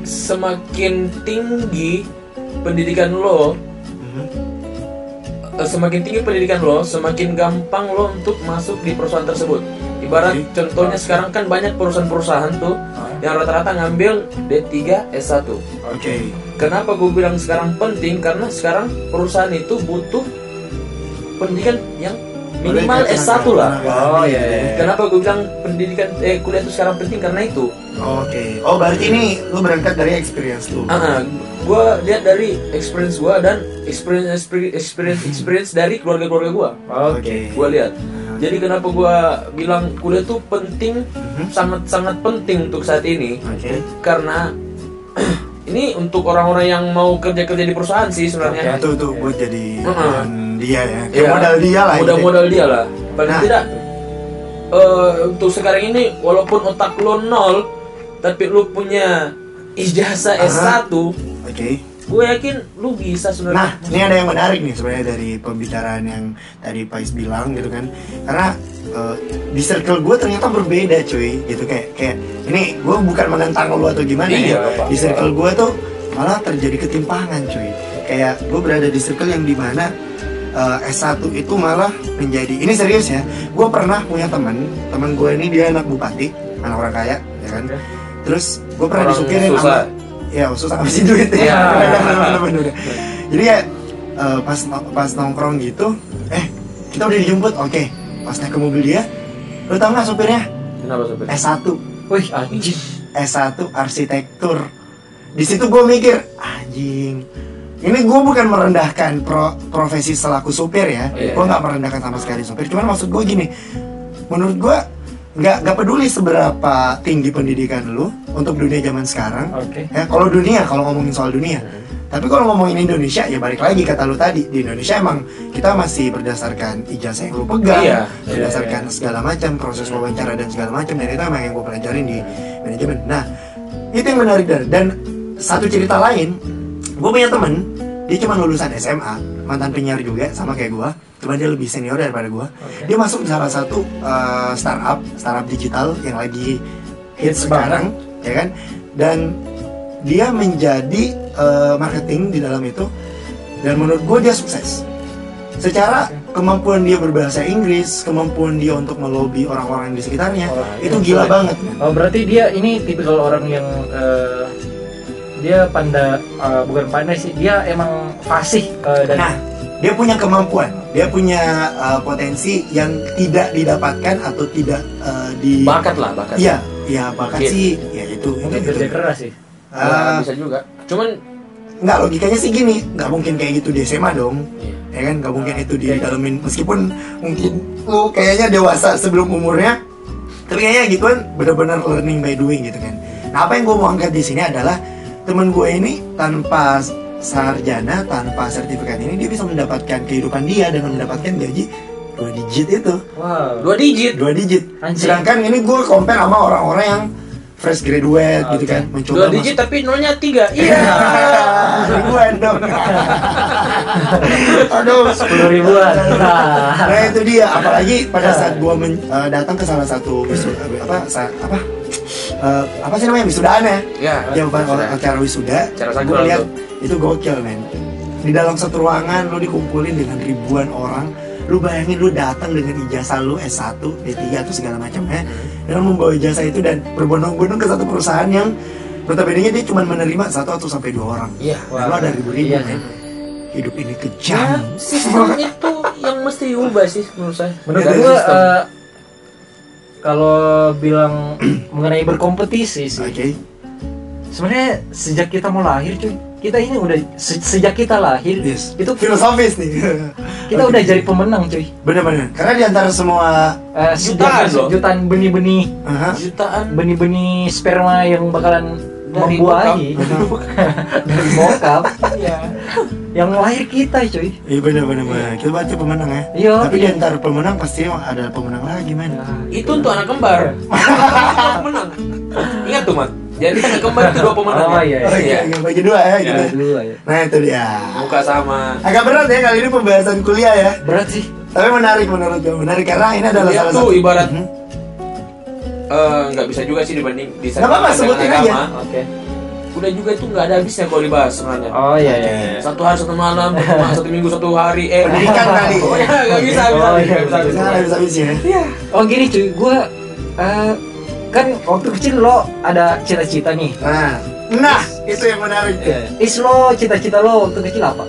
S2: Semakin tinggi pendidikan lo,
S3: Mhm.
S2: eh, semakin tinggi pendidikan lo, semakin gampang lo untuk masuk di perusahaan tersebut. Ibarat
S3: Oke.
S2: contohnya sekarang kan banyak perusahaan-perusahaan tuh yang rata-rata ngambil D3 S1.
S3: oke
S2: Kenapa gue bilang sekarang penting? Karena sekarang perusahaan itu butuh pendidikan yang minimal
S3: Boleh,
S2: S1 lah.
S3: kenapa?
S4: Oh, iya, iya.
S2: Kenapa gue bilang pendidikan eh kuliah itu sekarang penting karena itu.
S3: oke oh berarti ini lo berangkat dari experience lo
S2: Ah, gue lihat dari experience gue dan experience experience experience, experience dari keluarga-keluarga gue.
S3: oke Nah.
S2: Gue lihat. Jadi kenapa gue bilang kuliah itu penting
S3: Mhm.
S2: sangat-sangat penting untuk saat ini
S3: oke
S2: karena ini untuk orang-orang yang mau kerja-kerja di perusahaan sih sebenarnya.
S3: Nah, tuh tuh buat jadi
S2: Mm-mm.
S3: bahan dia ya
S2: Ya,
S3: kayak modal dia lah
S2: modal
S3: gitu.
S2: modal dia lah paling
S3: Nah.
S2: tidak eh, untuk sekarang ini walaupun otak lo nol tapi lo punya ijazah
S3: Aha.
S2: S1
S3: oke
S2: gue yakin lu bisa
S3: Nah,
S2: sebenarnya
S3: ini ada yang menarik nih sebenarnya dari pembicaraan yang tadi Pais bilang gitu kan. Karena eh, di circle gue ternyata berbeda cuy gitu kayak kayak ini gue bukan menentang lu atau gimana
S2: Iya,
S3: ya.
S2: Pak.
S3: Di circle gue tuh malah terjadi ketimpangan cuy. Kayak gue berada di circle yang dimana eh, S1 itu malah menjadi ini serius ya. Gue pernah punya teman, teman gue ini dia anak bupati, anak orang kaya ya kan. Terus gue pernah
S2: Orang
S3: disukirin
S2: susah.
S3: sama ya susah habisin duit
S2: Iya.
S3: ya. Bener-bener jadi ya eh, pas pas nongkrong gitu eh kita udah dijemput oke pas naik ke mobil dia lu tau nggak supirnya
S2: kenapa sobat Ah, iya.
S3: S1
S4: Wih, anjing.
S3: S1 arsitektur di situ gue mikir anjing ini gue bukan merendahkan pro- profesi selaku supir ya
S2: Iya,
S3: gue nggak merendahkan sama sekali supir cuman maksud gue gini menurut gue nggak nggak peduli seberapa tinggi pendidikan lu untuk dunia zaman sekarang
S4: Oke.
S3: ya kalau dunia kalau ngomongin soal dunia tapi kalau ngomongin Indonesia ya balik lagi kata lu tadi di Indonesia emang kita masih berdasarkan ijazah yang lu pegang,
S2: Iya,
S3: berdasarkan segala macam proses wawancara dan segala macam dan itu emang yang gue pelajarin
S2: Iya.
S3: di manajemen. Nah itu yang menarik dari dan satu cerita lain gue punya temen dia cuma lulusan SMA mantan penyiar juga sama kayak gue cuma dia lebih senior daripada gue dia masuk di salah satu eh, startup startup digital yang lagi hits sekarang ya kan dan dia menjadi eh, marketing di dalam itu dan menurut gue dia sukses secara kemampuan dia berbahasa Inggris kemampuan dia untuk melobi orang-orang di sekitarnya
S4: Oh,
S3: itu
S4: iya.
S3: gila banget men.
S4: Oh, berarti dia ini tipikal orang yang eh, dia panda eh, bukan pandai sih, dia emang fasih eh, dan
S3: Nah, dia punya kemampuan, dia punya uh, potensi yang tidak didapatkan atau tidak uh, di
S2: bakat lah bakat
S3: Iya, iya bakat
S2: Mungkin.
S3: sih, ya itu itu
S4: mungkin
S3: gitu.
S4: kerja keras sih.
S2: Ya,
S3: Uh,
S2: bisa juga cuman
S3: nggak logikanya sih gini, nggak mungkin kayak gitu di SMA dong,
S2: iya.
S3: ya kan? Nggak mungkin
S4: Ah,
S3: itu di
S4: iya.
S3: dalamin meskipun mungkin lu kayaknya dewasa sebelum umurnya, tapi kayaknya gitu kan benar-benar learning by doing gitu kan. Nah apa yang gue mau angkat di sini adalah temen gue ini tanpa sarjana, tanpa sertifikat ini dia bisa mendapatkan kehidupan dia dengan mendapatkan gaji dua digit itu
S4: Wow.
S2: dua digit
S3: dua digit.
S4: Anjing.
S3: Sedangkan ini gue compare sama orang-orang yang fresh graduate gitu
S4: Oke.
S3: kan, mencoba
S2: dua
S3: masuk-
S2: digit tapi nolnya tiga iya
S3: ribuan dong. Aduh,
S4: Sepuluh ribuan.
S3: Nah itu dia, apalagi pada saat gua men- eh, datang ke salah satu wisu- eh, apa sa- apa eh, apa sih namanya wisudaan ya?
S2: ya
S3: Yang pada acara wisuda,
S2: Acara sakral
S3: gua lihat itu gokil men. Di dalam satu ruangan lu dikumpulin dengan ribuan orang, lu bayangin lu datang dengan ijazah lu S1, D3 tuh segala macamnya dan lu membawa ijazah itu dan berbondong-bondong ke satu perusahaan yang notabene dia cuma menerima satu atau sampai dua orang.
S2: iya
S3: Lalu ada ribu-ribu
S4: Iya.
S3: kan? Hidup ini
S2: ya
S3: kejam.
S2: sistem itu yang mesti diubah sih menurut saya
S4: Menurut
S2: Dari
S4: gua
S2: sistem.
S4: eh, kalau bilang mengenai berkompetisi sih,
S3: Oke.
S4: sebenarnya sejak kita mau lahir cuy, kita ini udah se- sejak kita lahir
S3: Yes.
S4: itu kita
S3: Filosofis nih. Oke.
S4: udah jadi pemenang cuy.
S3: Benar-benar. Karena di antara semua
S4: Eh,
S2: Jutaan
S4: sejak
S2: loh.
S4: jutaan benih-benih
S3: Aha.
S2: jutaan
S4: benih-benih sperma yang bakalan
S2: dari
S4: membuahi
S2: bokap.
S4: dari bokap
S2: Iya.
S4: yang lahir kita cuy.
S3: Iya benar-benar. Kita baca pemenang ya.
S4: Iya.
S3: Tapi di antara pemenang pasti ada pemenang lagi
S4: Nah,
S3: men.
S2: itu untuk anak kembar Anak menang ingat tuh mat jadi anak kembar itu dua pemenang
S4: Oh, iya,
S3: Oke,
S2: iya.
S3: yang bagi dua ya.
S4: Nah,
S3: Gitu.
S4: dulu aja.
S3: Nah itu dia.
S2: muka sama
S3: Agak berat ya kali ini pembahasan kuliah ya.
S4: Berat sih.
S3: Tapi menarik menurut gue menarik karena ini adalah
S2: Kuliah
S3: salah
S2: Iya, tuh
S3: satu
S2: ibarat-
S3: Mhm.
S2: Eh, nggak bisa juga sih dibanding di
S3: Nggak apa-apa, sebutin aja.
S4: Oke.
S2: udah juga itu nggak ada habisnya kalau dibahas sebenarnya
S4: Oh iya iya. iya.
S2: satu hari satu malam satu ma- satu minggu satu hari eh
S3: pendidikan kali. ya.
S2: pokoknya nggak bisa bisa
S4: Oh, iya,
S2: nggak bisa
S3: Bisa
S2: bisa
S3: habis habis ya.
S4: Oh gini cuy, gue kan waktu kecil lo ada cita-cita nih.
S3: Nah, nah itu yang menarik.
S2: Iya.
S3: tuh.
S4: Is lo cita-cita lo waktu kecil apa?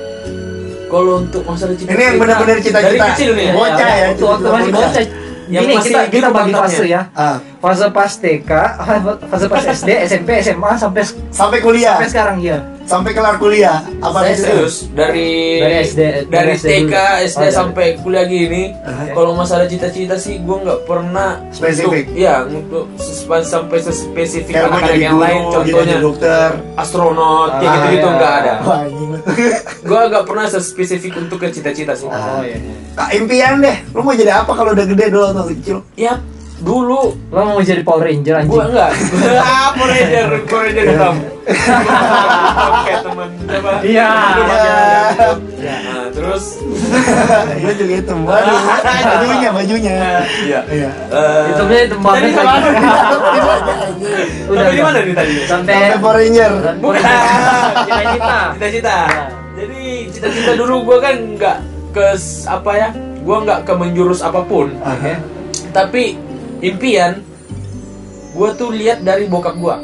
S2: kalau untuk masalah cita
S3: Ini yang benar-benar cita-cita.
S2: dari kecil nih ya
S3: Bocah ya,
S4: Waktu, waktu
S3: cita-cita
S4: masih
S3: bocah.
S4: bocah.
S2: Yang
S4: Gini
S2: masih
S4: kita kita
S2: hidup
S4: bagi
S2: tantangannya.
S4: fase ya.
S3: Ah,
S4: Fase pas TK, fase pas SD, SMP, SMA sampai
S3: sampai kuliah,
S4: sampai sekarang ya.
S3: sampai kelar kuliah. Apa
S2: saya
S3: lagi?
S2: serius dari
S4: Dari SD,
S2: dari
S4: dari SD dulu.
S2: TK SD
S4: Oh, iya.
S2: sampai kuliah gini
S3: Aha.
S2: kalau masalah cita-cita sih gue nggak pernah
S3: Spesifik.
S2: untuk- ya untuk sespa- sampai sespesifik
S3: Kayak mau
S2: anak-anak
S3: jadi
S2: yang
S3: guru, Oh.
S2: lain
S3: gitu, jadi
S2: contohnya Iya.
S3: dokter.
S2: astronot kayak
S4: Ah,
S2: gitu-gitu
S4: iya.
S2: nggak ada
S3: Wah, anjing lu.
S2: gue nggak pernah sespesifik untuk ke cita-cita sih
S4: Oh iya.
S3: Kak, impian deh. Lu mau jadi apa kalau udah gede dulu atau kecil?
S2: ya dulu
S4: Lo mau jadi Power Ranger anjing?
S2: gua enggak apa ranger Power ranger hitam kayak teman apa
S4: Iya.
S2: Iya. Nah, terus
S3: Gue juga itu. Waduh, bajunya, bajunya.
S2: iya
S3: Iya.
S2: Eh,
S4: Hitamnya hitam banget
S2: tadi sama
S4: lagi.
S2: udah di mana nih tadi
S4: Sampai
S3: Sampai Power Ranger.
S2: Bukan.
S4: Cita-cita.
S2: cita-cita jadi cita-cita dulu gua kan nggak ke s- apa ya gua nggak ke menjurus apapun
S4: Oke.
S2: tapi impian gua tuh lihat dari bokap gua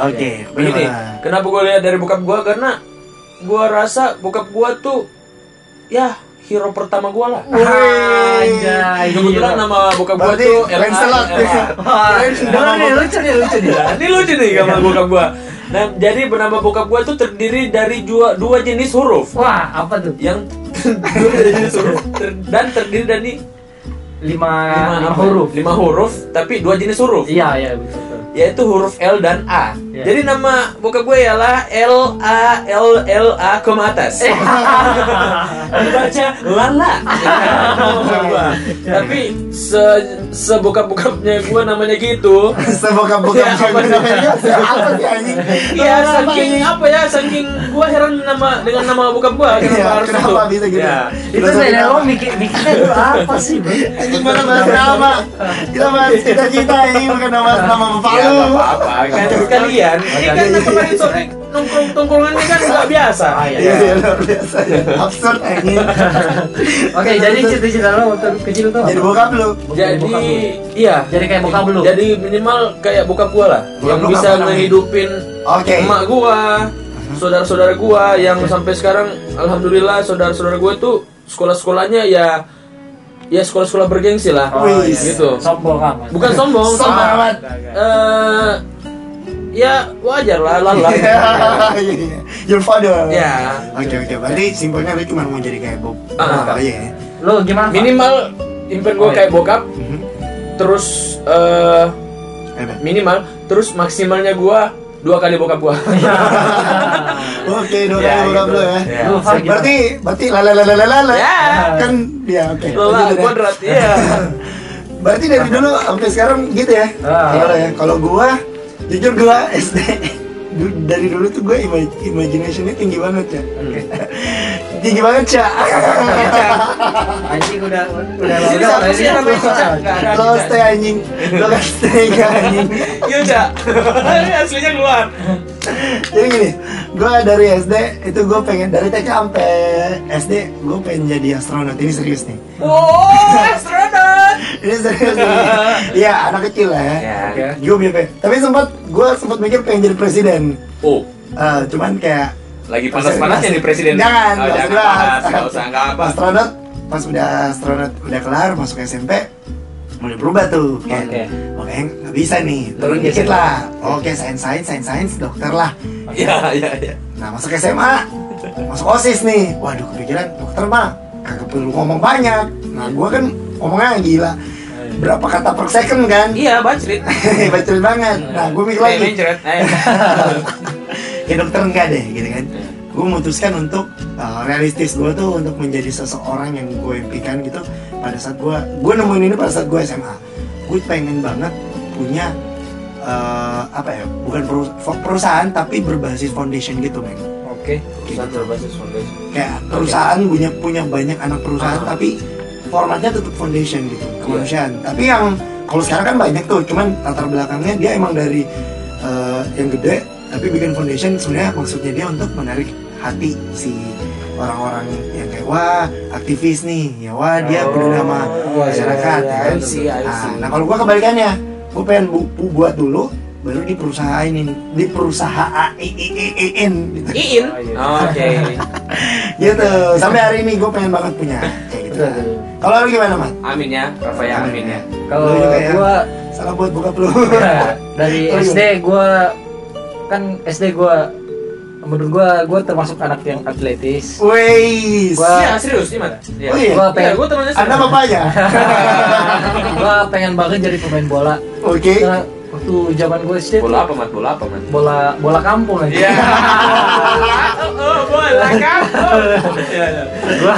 S3: Oke,
S2: begini kenapa gua lihat dari bokap gua karena gua rasa bokap gua tuh ya hero pertama gua lah
S4: Iya. Anjay.
S2: kebetulan nama bokap gua
S3: Berarti iya.
S2: tuh LA.
S3: Lancelot.
S4: Wah,
S3: Nama
S4: ini lucu nih, lucu nih.
S2: Nah, ini lucu nih gambar
S4: Iya.
S2: bokap gua nah jadi nama bokap gua tuh terdiri dari dua, dua jenis huruf
S4: Wah, apa tuh?
S2: yang disuruh ter- dan terdiri dari lima,
S4: Lima, lima
S2: apa? ya?
S4: huruf.
S2: lima huruf tapi dua jenis huruf
S4: Iya, iya betul. betul.
S2: yaitu huruf L dan A
S4: Iya.
S2: jadi nama bokap gue ialah L A L L A koma atas dibaca lala Nama bokap gua. tapi se sebokap bokapnya gue namanya gitu
S3: Sebokap bokap
S2: Iya, apa sih?
S3: Apa sih anjing?
S2: Iya, saking apa ya, saking gua heran nama dengan nama bokap gua kenapa
S3: Iya,
S2: harus
S3: kenapa
S2: itu.
S3: bisa gitu?
S2: Iya.
S4: Itu
S3: Filosofi
S4: saya
S3: apa?
S4: lo mikir mikirnya itu apa sih, Bro?
S3: Anjing mana bahas nama? Kita bahas cita-cita ini bukan bahas nama bapak
S2: Ya,
S3: lu.
S2: nggak Iya. apa-apa. Kan sekalian. Ini kan kemarin sore nongkrong tongkrongan ini kan nggak biasa.
S3: Iya, luar biasa ya. Absurd anjing.
S4: Oke, jadi cita-cita lo waktu kecil tuh apa?
S3: Jadi bokap lu.
S2: Jadi
S4: bokap lu.
S2: iya.
S4: jadi kayak bokap lu.
S2: Jadi minimal kayak bokap gua lah
S3: Bokap
S2: yang
S3: lu
S2: bisa
S3: apa namanya?
S2: ngehidupin
S3: Oke. Uh-huh.
S2: emak gua, saudara-saudara gua yang sampai sekarang alhamdulillah saudara-saudara gua tuh sekolah-sekolahnya ya ya sekolah-sekolah bergengsi lah.
S4: Oh, iya,
S3: Wis.
S2: Gitu.
S4: sombong amat.
S2: Bukan sombong,
S3: Sombong
S2: sama.
S3: amat.
S2: Eh ya wajar lah lah lah.
S3: Iya, iya, iya. Your father.
S2: Ya.
S3: Oke oke. Berarti simpelnya lu cuma mau jadi kayak Bob.
S2: Ah.
S3: Bapak aja ya.
S4: Lo gimana? Pak?
S2: Minimal impian gua
S4: Oh, iya.
S2: kayak bokap,
S3: Mhm.
S2: terus eh
S3: Hebat.
S2: minimal terus maksimalnya gua dua kali bokap gua
S3: Iya. Oke, dua
S2: Ya,
S3: kali bokap
S2: gitu.
S3: lu ya.
S2: Ya.
S4: Lu, Far, gimana?
S3: Berarti berarti lalalalalala.
S2: Ya.
S3: Kan dia oke.
S2: lelah
S3: Lanjut, ya.
S2: kuadrat iya
S3: Berarti dari dulu sampai sekarang gitu ya.
S4: Ah.
S3: Kalau ya, kalau gua jujur gua SD du- dari dulu tuh gua ima- imaginationnya tinggi banget ya.
S2: Hmm.
S3: tinggi banget ya.
S4: Anjing udah udah
S2: Di sini siapa sih
S4: logat lagi.
S2: yang namanya Cica? Nggak ada
S3: Lo
S2: Cica.
S3: stay anjing, lo kan stay gak anjing.
S2: iya cak aslinya keluar
S3: Jadi gini, gua dari SD itu gua pengen dari TK sampai SD gua pengen jadi astronot. Ini serius nih.
S2: wow astronot
S3: Ini serius nih. Iya, anak kecil lah ya.
S2: Iya.
S4: Oke.
S3: Gua mikir, tapi sempat gua sempat mikir pengen jadi presiden.
S2: oh
S3: Eh, cuman kayak
S2: lagi panas-panasnya nih presiden
S3: Jangan,
S2: oh, jangan
S3: nggak usah.
S2: panas nggak usah nggak apa
S3: astronot pas udah astronot udah kelar masuk SMP mulai berubah tuh kayak
S4: Oke.
S3: oke nggak bisa nih turun
S4: Turun
S3: dikit
S4: dikit.
S3: lah oke sains sains sains sains dokter lah
S2: iya iya iya
S3: nah masuk SMA masuk osis nih waduh kepikiran dokter mah kagak perlu ngomong banyak nah gua kan ngomongnya gila berapa kata per second kan
S2: iya bacrit
S3: bacot banget nah gua
S2: Eh,
S3: mikir lagi
S2: mencret Eh.
S3: ya dokter enggak deh gitu kan gue memutuskan untuk uh, realistis gue tuh untuk menjadi seseorang yang gue impikan gitu pada saat gue gue nemuin ini pada saat gue SMA gue pengen banget punya uh, apa ya bukan peru- perusahaan tapi berbasis foundation gitu men
S4: Oke.
S2: Perusahaan berbasis foundation.
S3: kayak Ya, perusahaan punya punya banyak anak perusahaan
S2: Ah. Iya.
S3: tapi formatnya tetap foundation gitu kemanusiaan tapi yang kalau sekarang kan banyak tuh cuman latar belakangnya dia emang dari eh, yang gede tapi bikin foundation sebenarnya maksudnya dia untuk menarik hati si orang-orang yang kayak wah aktivis nih ya wah dia peduli sama
S4: Oh,
S3: masyarakat
S2: iya,
S3: ya
S2: iya,
S3: kan?
S2: I see, I
S3: Nah,
S2: see.
S3: nah kalau gua kebalikannya gua pengen bu- bu- buat dulu baru di perusahaan ini di perusahaan gitu
S2: Iin.
S4: Oh, iya.
S2: Oke.
S3: gitu sampai hari ini gue pengen banget punya kayak gitu
S4: Betul.
S3: kalau lu gimana mat
S2: Amin ya, Rafa ya amin ya.
S4: Kalau
S3: Lu juga ya.
S4: gua
S3: salah buat buka lu
S4: Nah, dari
S3: Oh, iya.
S4: SD gua kan SD gua menurut gua gua termasuk anak yang atletis.
S3: Wis.
S2: Iya,
S4: Wah.
S2: serius gimana? Iya.
S3: Oh, iya?
S2: Gua
S4: Iya,
S2: gua temannya
S3: Anda bapaknya?
S4: gua pengen banget jadi pemain bola.
S3: Oke.
S4: Karena waktu zaman gua SD
S2: Bola apa, Mat? Bola apa, Mat?
S4: bola bola kampung aja.
S2: Iya. Oh, bola kampung. Iya, iya.
S4: gua,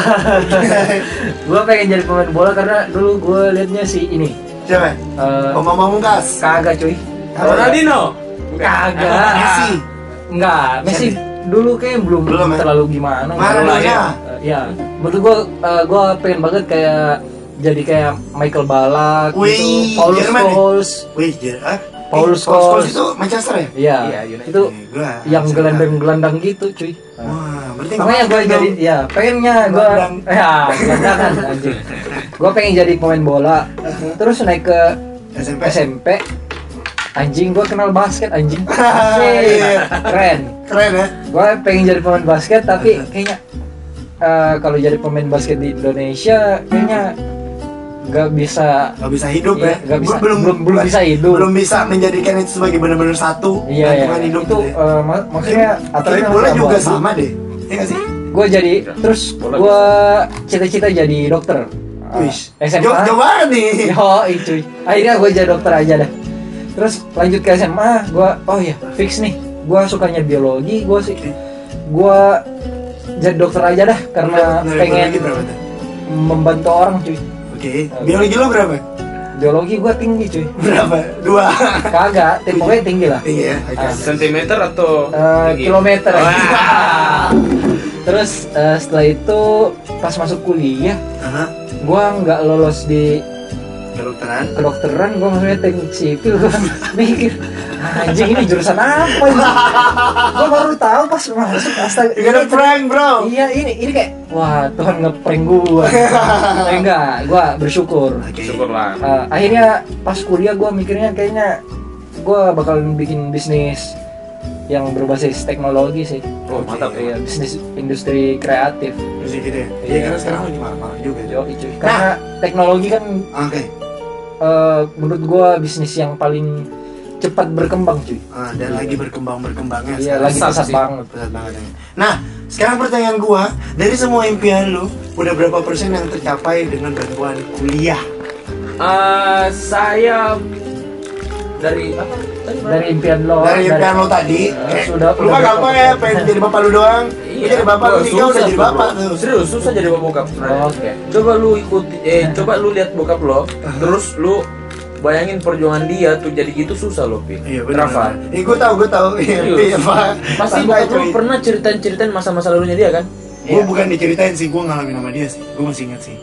S4: gua pengen jadi pemain bola karena dulu gua liatnya si ini
S3: Siapa?
S4: Eh,
S3: Om Mamang Mungkas.
S4: kagak cuy
S2: Ronaldinho
S4: kagak
S3: Messi.
S4: enggak Messi dulu kayak belum,
S3: Belum, ya?
S4: terlalu gimana
S3: Maradona.
S4: Lah, ya Eh, ya menurut gua eh, gua pengen banget kayak jadi kayak Michael Ballack
S3: Wih,
S4: gitu Paulus
S3: Jerman ya?
S4: Scholes
S3: Wih, Jer. ah? Eh, Paul
S4: Paul
S3: Scholes
S4: Scholes.
S3: itu Manchester ya?
S4: iya
S2: Iya, United.
S4: itu
S3: Eh, gua
S4: yang
S3: Manchester.
S4: gelandang-gelandang gitu cuy
S3: Wah, berarti
S4: Makanya gue
S3: kemarin
S4: jadi,
S3: dong.
S4: ya pengennya gue,
S3: Gelandang.
S4: ya gelandangan anjing. Gue pengen jadi pemain bola, terus naik ke
S3: SMP.
S4: SMP, anjing gue kenal basket anjing,
S3: Iya.
S4: keren.
S3: Keren ya?
S4: Gue pengen jadi pemain basket tapi kayaknya eh, kalau jadi pemain basket di Indonesia kayaknya nggak bisa
S3: Gak bisa hidup
S4: Iya,
S3: ya?
S4: nggak bisa.
S3: Gua belum,
S4: Belum- belum bisa hidup.
S3: Belum bisa menjadikan itu sebagai benar-benar satu
S4: Iya, ya.
S3: lingkungan hidup
S4: itu
S3: gitu ya.
S4: eh, mak- maksudnya
S3: Tapi
S4: atletnya
S3: bola
S4: harus
S3: juga
S4: abadi.
S3: sama deh. Iya gak sih?
S4: Gue jadi, terus
S2: Bola
S4: gue cita-cita jadi dokter. Eh,
S3: Wih,
S4: SMA.
S3: jauh jauh banget nih.
S4: Yo, cuy. Akhirnya gue jadi dokter aja dah. Terus lanjut ke SMA, gue oh ya fix nih. Gue sukanya biologi, gue sih. Gue jadi dokter aja dah karena
S3: Dari
S4: pengen
S3: biologi berapa tuh?
S4: membantu orang cuy.
S3: Oke, biologi lo berapa?
S4: Biologi gue tinggi cuy.
S3: Berapa? Dua.
S4: Kagak, tim- pokoknya tinggi lah.
S3: Iya. oke.
S4: Ah.
S2: sentimeter atau
S4: Eh,
S2: tinggi?
S4: kilometer.
S2: Wah.
S4: Terus eh, setelah itu pas masuk kuliah,
S3: Aha,
S4: gue nggak lolos di
S3: Kedokteran.
S4: Iya. kedokteran gue maksudnya teknik sipil gue mikir anjing ini jurusan apa ini gue baru tahu pas masuk astaga
S3: You gotta
S4: ini-
S3: prank, bro.
S4: iya ini ini kayak wah Tuhan ngeprank gue enggak gue bersyukur
S3: Oke.
S2: syukurlah
S4: Eh, akhirnya pas kuliah gue mikirnya kayaknya gue bakal bikin bisnis yang berbasis teknologi sih
S2: oh mantap
S4: Iya, bisnis industri kreatif
S3: Bisa gitu ya. Iya,
S4: Iya.
S3: karena sekarang lagi marah-marah juga.
S4: Yo, cuy.
S2: Nah.
S4: karena teknologi kan
S3: Oke.
S4: eh, menurut gue bisnis yang paling cepat berkembang cuy
S3: Ah, dan lagi berkembang-berkembangnya.
S4: Iya
S3: sekarang.
S4: lagi
S2: Pesat
S4: pesat
S2: sih.
S4: banget.
S3: Berat banget ya. Nah, sekarang pertanyaan gua, dari semua impian lu, udah berapa persen yang tercapai dengan bantuan kuliah?
S2: Eh, saya dari apa tadi
S4: Dari impian lo.
S3: dari impian lu tadi, eh,
S4: sudah-
S3: lu mah
S4: udah
S3: gampang ya,
S4: berapa
S3: pengen jadi bapak lu doang. Lu jadi bapak lu
S2: Wah,
S3: nikah
S2: Iya.
S3: udah
S2: susah
S3: jadi
S2: tuh,
S3: bapak
S2: bro.
S3: tuh.
S2: Serius susah jadi bapak bokap. sebenarnya.
S4: Oh, oke.
S2: Coba lu ikuti, eh coba lu lihat bokap lo, terus lu bayangin perjuangan dia tuh jadi gitu susah lo, Pi.
S3: Iya,
S2: Rafa.
S3: benar. Iya, gua tahu, gua tahu. Iya,
S2: Serius.
S3: iya, Pak.
S2: Pasti
S3: Pak,
S2: bokap lu
S3: cuy.
S2: pernah ceritain-ceritain masa-masa lalunya dia kan?
S3: Gua bukan diceritain sih, gua ngalamin sama dia sih. Gua masih ingat sih.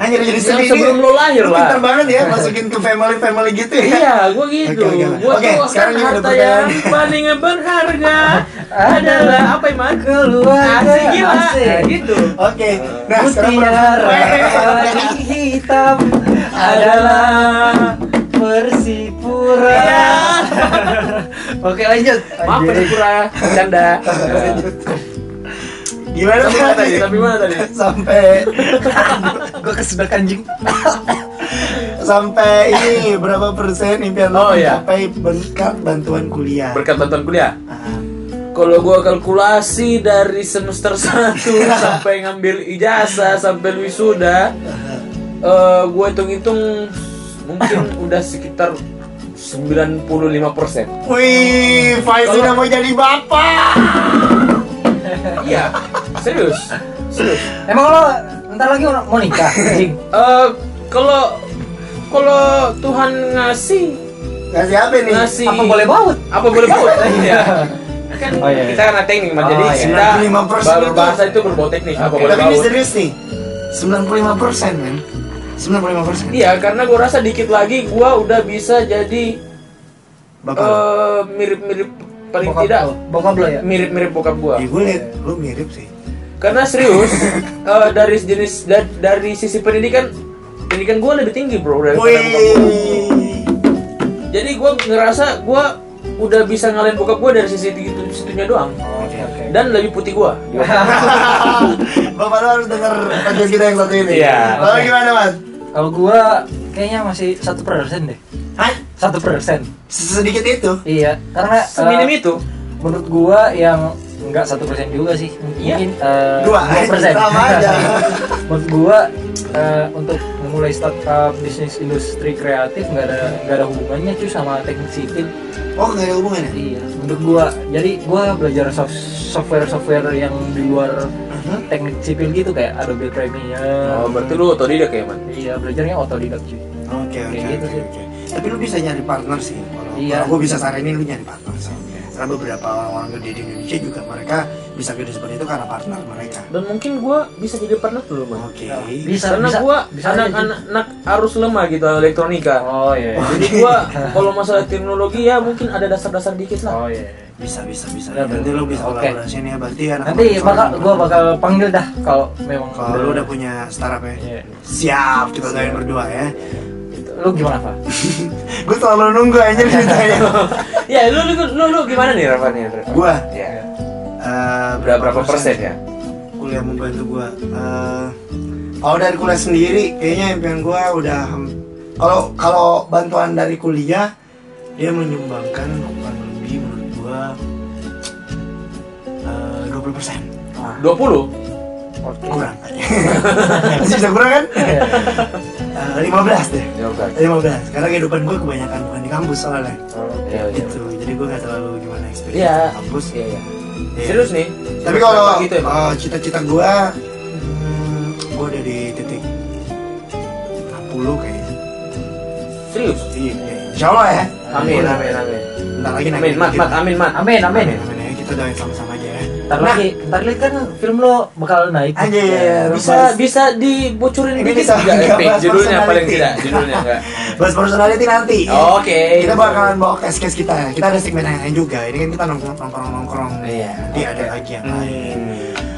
S3: Anjir jadi
S2: Yang
S3: sendiri.
S2: sebelum lu lahir lah.
S3: pintar banget ya masukin ke family-family gitu ya.
S2: Iya, gua gitu.
S3: Oke, oke, oke.
S2: Gua
S3: Oke,
S2: tuh akan
S3: sekarang ini ada
S2: harta
S3: pertanyaan.
S2: yang paling berharga adalah apa ya, Man?
S4: Keluarga,
S2: Asik gila.
S4: asik.
S2: Nah, gitu.
S3: Oke. Nah, sekarang
S4: Mutiara yang hitam adalah Persipura. Oke lanjut.
S2: Maaf, Persipura. Canda.
S3: Gimana
S2: Sampai mana tadi?
S3: tadi?
S2: Sampai mana tadi?
S3: sampai
S4: Gue kesedak anjing.
S3: sampai ini berapa persen impian
S2: Oh,
S3: lo
S2: iya.
S3: mencapai berkat bantuan kuliah?
S2: Berkat bantuan kuliah.
S3: Ah,
S2: Kalau gua kalkulasi dari semester 1 sampai ngambil ijazah sampai wisuda, eh gua hitung-hitung mungkin udah sekitar 95%.
S3: Wih, Faiz
S2: Kalau-
S3: sudah mau jadi bapak.
S2: Iya, serius. Serius.
S4: Emang lo ntar lagi mau mau nikah anjing.
S2: Eh kalau kalau Tuhan ngasih
S3: Kasih apa nih?
S2: ngasih
S4: Apa boleh baut?
S2: apa boleh bawa ya kan
S4: Oh, iya, iya.
S2: kita karena teknik Mas.
S4: Oh,
S2: jadi
S4: iya.
S2: kita baru
S3: 95% itu.
S2: bahasa itu berbau teknik apa
S4: Oke.
S2: boleh
S3: Tapi ini
S2: bawa
S3: serius nih. 95 persen, men. 95 persen.
S2: iya karena gua rasa dikit lagi gua udah bisa jadi
S3: Bapak. lo?
S2: eh, mirip-mirip paling
S4: Bokap
S2: tidak
S4: lo. Bokap lo ya.
S2: mirip-mirip bokap gua
S3: Ya, gue liat lu mirip sih.
S2: karena serius eh, dari jenis da- dari sisi pendidikan pendidikan gua lebih tinggi bro daripada bokap gua.
S3: Wih.
S2: jadi gua ngerasa gua udah bisa ngalahin bokap gua dari sisi itu situnya doang
S4: Oke oke.
S2: dan lebih putih gua
S3: Bapak lo harus denger podcast kita yang satu ini.
S2: Iya.
S3: Lalu gimana, Mas?
S4: Kalau gua kayaknya masih satu persen deh.
S3: Hah?
S4: Satu persen.
S3: Sedikit itu.
S4: Iya, karena eh,
S2: seminim itu
S4: menurut gua yang enggak satu persen juga sih mungkin eh,
S3: Dua.
S4: persen
S3: Sama aja.
S4: menurut gua eh, untuk memulai startup bisnis industri kreatif nggak ada nggak ada hubungannya cuy sama teknik sipil
S3: Oh, gak ada hubungannya?
S4: iya menurut gua jadi gua belajar software software yang di luar
S3: Uh-huh.
S4: teknik sipil gitu kayak Adobe Premiere
S2: Oh, berarti lu otodidak ya, Man?
S4: iya belajarnya otodidak cuy
S3: Oh, oke oke
S4: Kayak gitu
S3: oke,
S4: sih.
S3: oke. Tapi lu bisa nyari partner sih. Kalau
S4: Iya.
S3: kalau gua bisa saranin lu nyari partner sih. Karena beberapa orang-orang gede di Indonesia juga mereka bisa gede seperti itu karena partner mereka.
S2: dan mungkin gue bisa jadi partner dulu bang
S3: Oke.
S4: Bisa,
S2: karena
S4: bisa,
S2: gue
S4: bisa aja.
S2: anak-anak harus lemah gitu elektronika
S4: Oh iya.
S2: jadi gue kalau masalah teknologi ya mungkin ada dasar-dasar dikit lah
S4: Oh iya.
S3: Bisa bisa bisa.
S4: Benar,
S3: Nanti lu bisa
S4: Iya, oke.
S3: kolaborasi nih ya, berarti anak
S4: Nanti bakal gua bakal panggil dah kalau memang
S3: Nah, kalau lu udah punya startup ya.
S4: Iya.
S3: Siap kita kalian berdua ya.
S4: lu gimana, Pak?
S3: Gue selalu nunggu aja ceritanya.
S2: ya lu lu lu, lu gimana nih Rafa nih
S3: gua
S2: ya
S3: eh,
S2: berapa, berapa persen ya
S3: kuliah membantu gua Eh, kalau dari kuliah sendiri kayaknya impian gua udah ham- kalau kalau bantuan dari kuliah dia menyumbangkan kurang lebih menurut gua eh, dua puluh persen
S2: 20
S3: kurang masih bisa kurang kan Eh, lima belas deh
S2: ya kan
S3: 15 karena kehidupan gua kebanyakan bukan di kampus soalnya
S2: ya ya
S3: gitu jadi gua nggak terlalu gimana experience
S2: Iya.
S3: di kampus
S2: Iya, iya.
S3: Iya.
S2: serius nih
S3: tapi kalau
S2: gitu ya
S3: uh, cita-cita gua hmm, gua udah di titik 60 kayaknya
S2: serius
S3: iya insya Allah ya
S2: amin amin amin
S3: bentar lagi naik
S2: amin mat
S3: dikit.
S2: mat amin mat
S4: Amin, amin.
S3: amin amin ya kita doain sama-sama aja ya
S4: Ntar lagi, ntar lagi kan film lo bakal naik. Ya,
S3: Anjir, iya,
S2: bisa bisa dibocorin
S3: Ini
S2: dikit
S3: bisa
S2: nggak
S3: nggak
S2: Epi?
S3: bahas
S2: judulnya paling
S3: personality.
S2: tidak judulnya enggak
S3: bahas personality nanti
S2: oke
S3: kita bakalan bawa kes-kes kita ya kita ada segmen yang lain juga ini kan kita nongkrong nongkrong nongkrong
S2: Iya.
S3: nanti ada lagi yang lain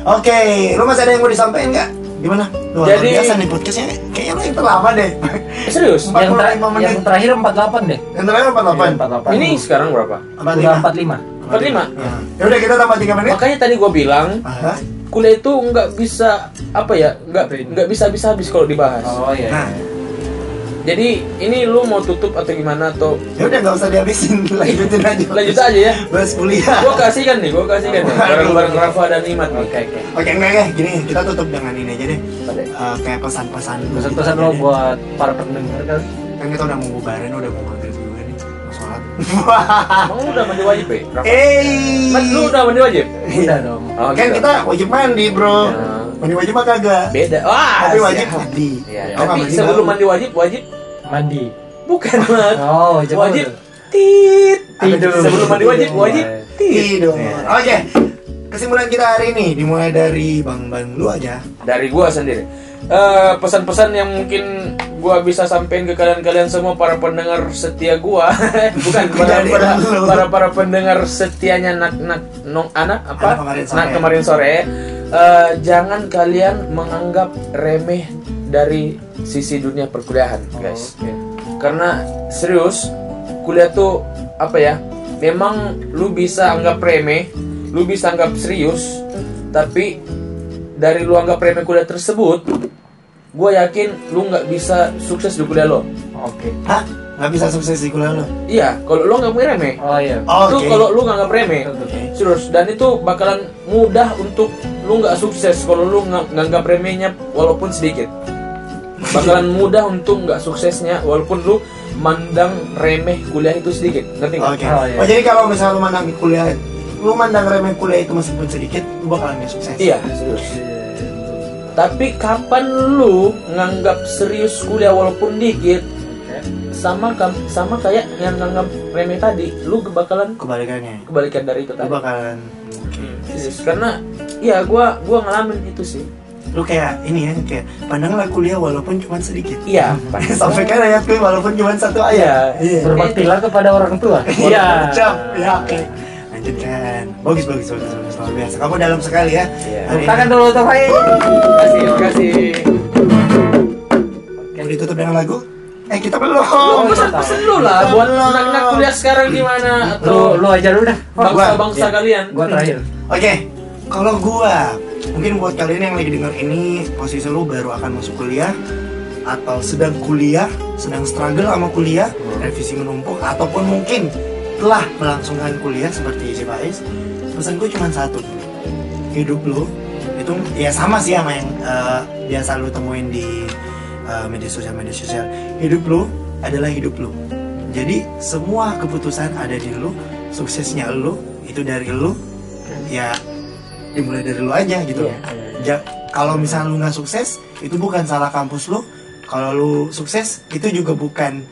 S3: oke lu masih ada yang mau disampaikan nggak gimana luar
S2: Jadi-
S3: biasa nih podcastnya kayaknya lu yang terlama deh
S2: serius
S4: Yang,
S3: 45
S4: ter-
S3: menit.
S4: yang terakhir 48 deh.
S3: yang terakhir empat delapan
S4: Iya, 48.
S2: ini sekarang berapa
S3: empat
S4: udah
S3: lima
S4: 45.
S2: Empat lima?
S3: ya udah kita tambah tiga menit
S2: makanya tadi gua bilang
S3: Aha.
S2: kuliah itu nggak bisa apa ya nggak nggak bisa bisa habis kalau dibahas
S4: Oh iya.
S3: Nah,
S2: jadi ini lu mau tutup atau gimana atau
S3: ya udah nggak usah dihabisin, lanjutin aja.
S2: lanjut aja ya
S3: Bahas kuliah.
S2: gua kasihkan nih gua kasihkan nih bareng bareng Rafa dan Imat nih
S4: Oke, oke.
S3: Oke, enggak enggak, gini kita tutup dengan ini aja deh. Eh, kayak pesan-pesan. lu
S4: Pesan-pesan
S3: gitu
S4: lo
S3: aja deh.
S4: buat para pendengar kan.
S3: Kan kita udah mau bubarin, udah mau maghrib juga nih. Mau sholat.
S2: emang lu udah mandi wajib ya Rafa?
S3: Ah. Eh,
S2: Mat, lu udah mandi wajib
S4: Udah dong.
S2: Oh,
S3: kan
S2: gitu.
S3: kita wajib mandi bro.
S2: Ya.
S3: Mandi wajib mah kagak.
S2: beda wah
S3: Tapi wajib
S2: siap.
S3: mandi.
S2: Iya,
S3: Kalau nggak
S2: tapi
S3: mandi
S2: sebelum
S3: bau.
S2: mandi wajib wajib
S4: Mandi.
S2: bukan mat
S4: Oh, jangan
S2: wajib
S4: dulu.
S2: tit
S4: Tidur.
S2: sebelum mandi wajib wajib
S3: Iya.
S2: tit
S3: tidur. Oke. Kesimpulan kita hari ini dimulai dari Bang Bang lu aja.
S2: dari gua sendiri Eh, pesan-pesan yang mungkin gua bisa sampaikan ke kalian-kalian semua para pendengar setia gua bukan para
S3: Dari
S2: para,
S3: Iya, lu.
S2: para para pendengar setianya nak nak nong anak
S3: Anak
S2: apa
S3: kemarin sore.
S2: nak kemarin sore Eh, jangan kalian menganggap remeh dari sisi dunia perkuliahan
S3: Oh.
S2: guys
S4: Oke.
S2: karena serius kuliah tuh apa ya memang lu bisa anggap remeh lu bisa anggap serius tapi dari lu anggap remeh kuliah tersebut gue yakin lu nggak bisa sukses di kuliah lo
S4: Oke.
S3: Hah? Nggak bisa sukses di kuliah lu.
S2: iya kalau lu nggak punya remeh
S4: Oh iya.
S2: itu
S3: Oke.
S2: kalau lu nggak anggap remeh
S4: Betul, betul.
S2: serius dan itu bakalan mudah untuk lu nggak sukses kalau lu nggak nganggap remehnya walaupun sedikit bakalan mudah untuk nggak suksesnya walaupun lu mandang remeh kuliah itu sedikit ngerti nggak?
S3: Oke.
S4: Oh, iya.
S3: Oh, jadi kalau misalnya lu mandang kuliah, lu mandang remeh kuliah itu meskipun sedikit, lu bakalan gak sukses.
S2: Iya serius. Tapi kapan lu nganggap serius kuliah walaupun dikit
S4: Oke.
S2: sama kam- sama kayak yang nganggap remeh tadi, lu bakalan
S3: Kebalikannya,
S2: kebalikan dari itu
S3: lu
S2: tadi.
S3: bakalan
S2: Serius. Karena ya gua gua ngalamin itu sih.
S3: lu kayak ini ya kayak pandanglah kuliah walaupun cuma sedikit
S2: Iya.
S3: sampai kan ayat gue walaupun cuma satu ayat
S2: Iya.
S3: iya
S4: Berbaktilah kepada orang tua.
S2: Iya.
S3: Ucap. ya oke lanjutkan bagus bagus bagus bagus luar biasa kamu dalam sekali ya
S2: Iya.
S3: Hari ini.
S4: Tangan dulu tuh, Pak.
S2: Terima kasih, terima kasih.
S3: Mau ditutup dengan lagu eh kita belum
S2: Lu pesan-pesan Oh, lu lah buat
S3: Belum.
S2: anak-anak kuliah sekarang gimana
S4: Lu
S2: atau
S4: lu aja dulu dah.
S2: bangsa-bangsa kalian.
S4: Gua terakhir.
S3: Oke, kalau gua mungkin buat kalian yang lagi dengar ini posisi lu baru akan masuk kuliah atau sedang kuliah, sedang struggle sama kuliah, revisi menumpuk ataupun mungkin telah melangsungkan kuliah seperti si Faiz, pesan gue cuma satu. Hidup lu itu ya sama sih sama yang eh, biasa lu temuin di eh, media sosial media sosial. Hidup lu adalah hidup lu. Jadi semua keputusan ada di lu, suksesnya lu itu dari lu. Ya dimulai dari lu aja gitu.
S2: Iya.
S3: Ja- kalau misalnya lu nggak sukses, itu bukan salah kampus lu. kalau lu sukses itu juga bukan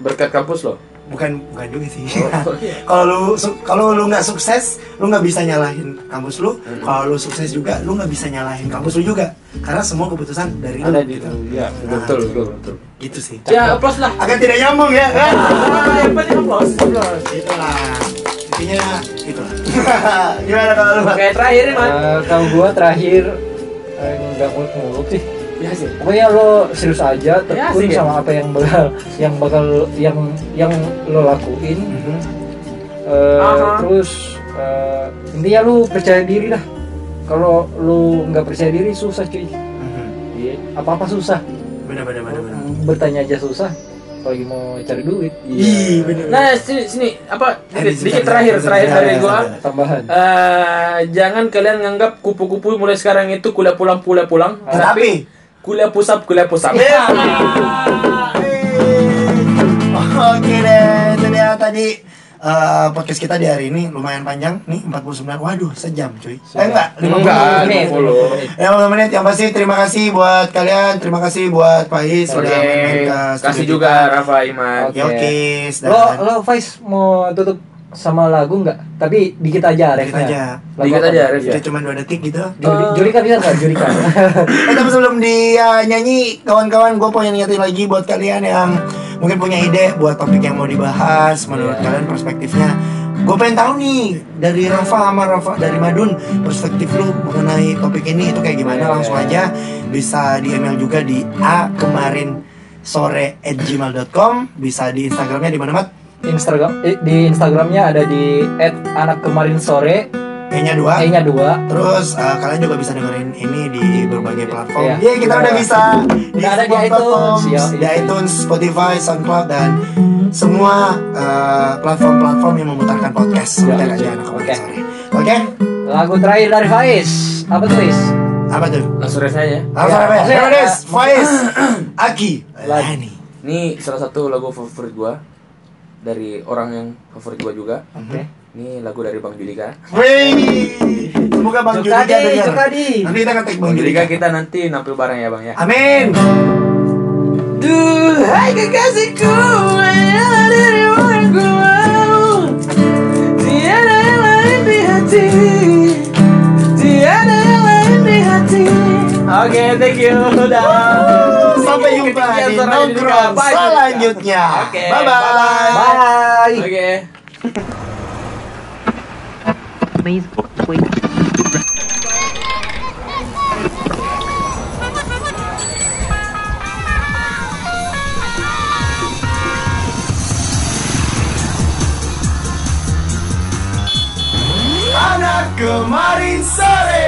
S2: berkat kampus loh
S3: bukan bukan juga sih
S2: Oh. Iya.
S3: kalau lu su- kalau lu nggak sukses lu nggak bisa nyalahin kampus lu
S2: Hmm.
S3: kalau lu sukses juga lu nggak bisa nyalahin kampus lu juga karena semua keputusan dari lu
S4: ada di
S3: gitu
S4: ya
S2: Iya, betul betul betul
S3: gitu sih
S2: ya plus lah
S3: agak tidak nyambung ya kan
S2: Ah, yang penting applause, applause.
S3: itulah intinya itulah gimana kalau lu Pak?
S2: Kayak terakhir nih, man.
S4: Eh, kalau gua terakhir eh, nggak muluk-muluk sih
S2: Ya sih.
S4: pokoknya lo serius aja tekun
S2: asik ya.
S4: sama apa yang bakal yang bakal yang yang lo lakuin
S3: Mhm.
S4: Eh,
S2: Aha.
S4: terus eh, intinya lu percaya diri lah kalau lu nggak percaya diri susah cuy
S3: Mhm.
S4: apa apa susah
S3: benar benar benar benar
S4: bertanya aja susah lagi mau cari duit
S3: Ih, bener.
S2: Nah, sini sini apa
S3: Eh,
S2: dikit,
S3: di-
S2: dikit
S3: bentar,
S2: terakhir
S3: bentar,
S2: terakhir
S3: bentar,
S2: dari
S3: bentar,
S2: gua.
S3: bentar.
S4: tambahan
S2: Eh, jangan kalian nganggap kupu-kupu mulai sekarang itu kuliah pulang kuliah pulang,
S3: tetapi
S2: kuliah pusap kuliah pusap.
S3: Ya. Yeay. Oke deh, itu dia tadi eh, podcast kita di hari ini lumayan panjang nih 49. Waduh, sejam cuy. Eh enggak, 50
S2: Enggak,
S3: menit.
S2: 50.
S3: 50 menit yang pasti terima kasih buat kalian, terima kasih buat Pak His
S2: Oke,
S3: sudah main ke
S2: kasih
S3: studio
S2: juga Rafa Iman.
S4: Oke.
S3: kita. Yokis dan
S4: lo lo Faiz mau tutup sama lagu nggak tapi dikit aja
S3: Dikit
S4: refnya.
S3: aja.
S4: Lagu
S2: Dikit
S4: apa?
S2: aja, Eh. ref.
S3: kita cuma 2 detik gitu.
S4: Juri, jurika bisa nggak jurika
S3: Eh tapi sebelum dia nyanyi kawan-kawan gue pengen ngingetin lagi buat kalian yang mungkin punya ide buat topik yang mau dibahas menurut
S4: Iya.
S3: kalian perspektifnya gue pengen tahu nih dari Rafa sama Rafa dari Madun perspektif lu mengenai topik ini itu kayak gimana
S4: Iya.
S3: langsung aja bisa di email juga di a kemarin sore at gmail.com bisa di instagramnya di mana mat
S4: Instagram eh, di Instagramnya ada di @anakkemarinsore
S3: kayaknya dua
S4: e nya dua
S3: Terus eh, kalian juga bisa dengerin ini di berbagai platform.
S4: Iya.
S3: Iya, kita udah bisa di
S4: Udah
S3: semua
S4: ada di iTunes.
S3: platform,
S4: Iya.
S3: di iTunes, Spotify, SoundCloud dan semua eh, platform-platform yang memutarkan podcast.
S4: Iya,
S3: Sebentar
S4: iya.
S3: aja anak
S4: Oke.
S3: kemarin sore. Oke,
S4: lagu terakhir dari Faiz apa tuh Faiz
S3: apa tuh?
S2: Langsung ref aja.
S3: Langsung apa ya?
S4: Iya.
S3: Herodes, Faiz, Aki,
S4: Lani.
S3: Lani.
S2: Ini salah satu lagu favorit gua dari orang yang favorit gua juga.
S4: oke
S2: Ini lagu dari Bang Julika.
S3: Wih, semoga Bang
S4: Jokadi,
S3: Judika dengar.
S4: Jokadi.
S3: Nanti kita ngetek Bang
S2: Bang
S3: Judika.
S2: Julika kita nanti nampil bareng ya, Bang ya.
S3: Amin.
S2: Duhai kekasihku Hanyalah dirimu yang ku mau Tiada yang lain di hati Tiada yang lain di hati Oke, thank you Dah
S3: Sampai jumpa
S2: Ketinggian suara
S3: di
S2: Judika.
S3: nongkrong
S2: Bye, Judika.
S3: selanjutnya.
S2: Oke,
S3: Bye-bye.
S4: bye
S2: Oke
S3: Anak kemarin sore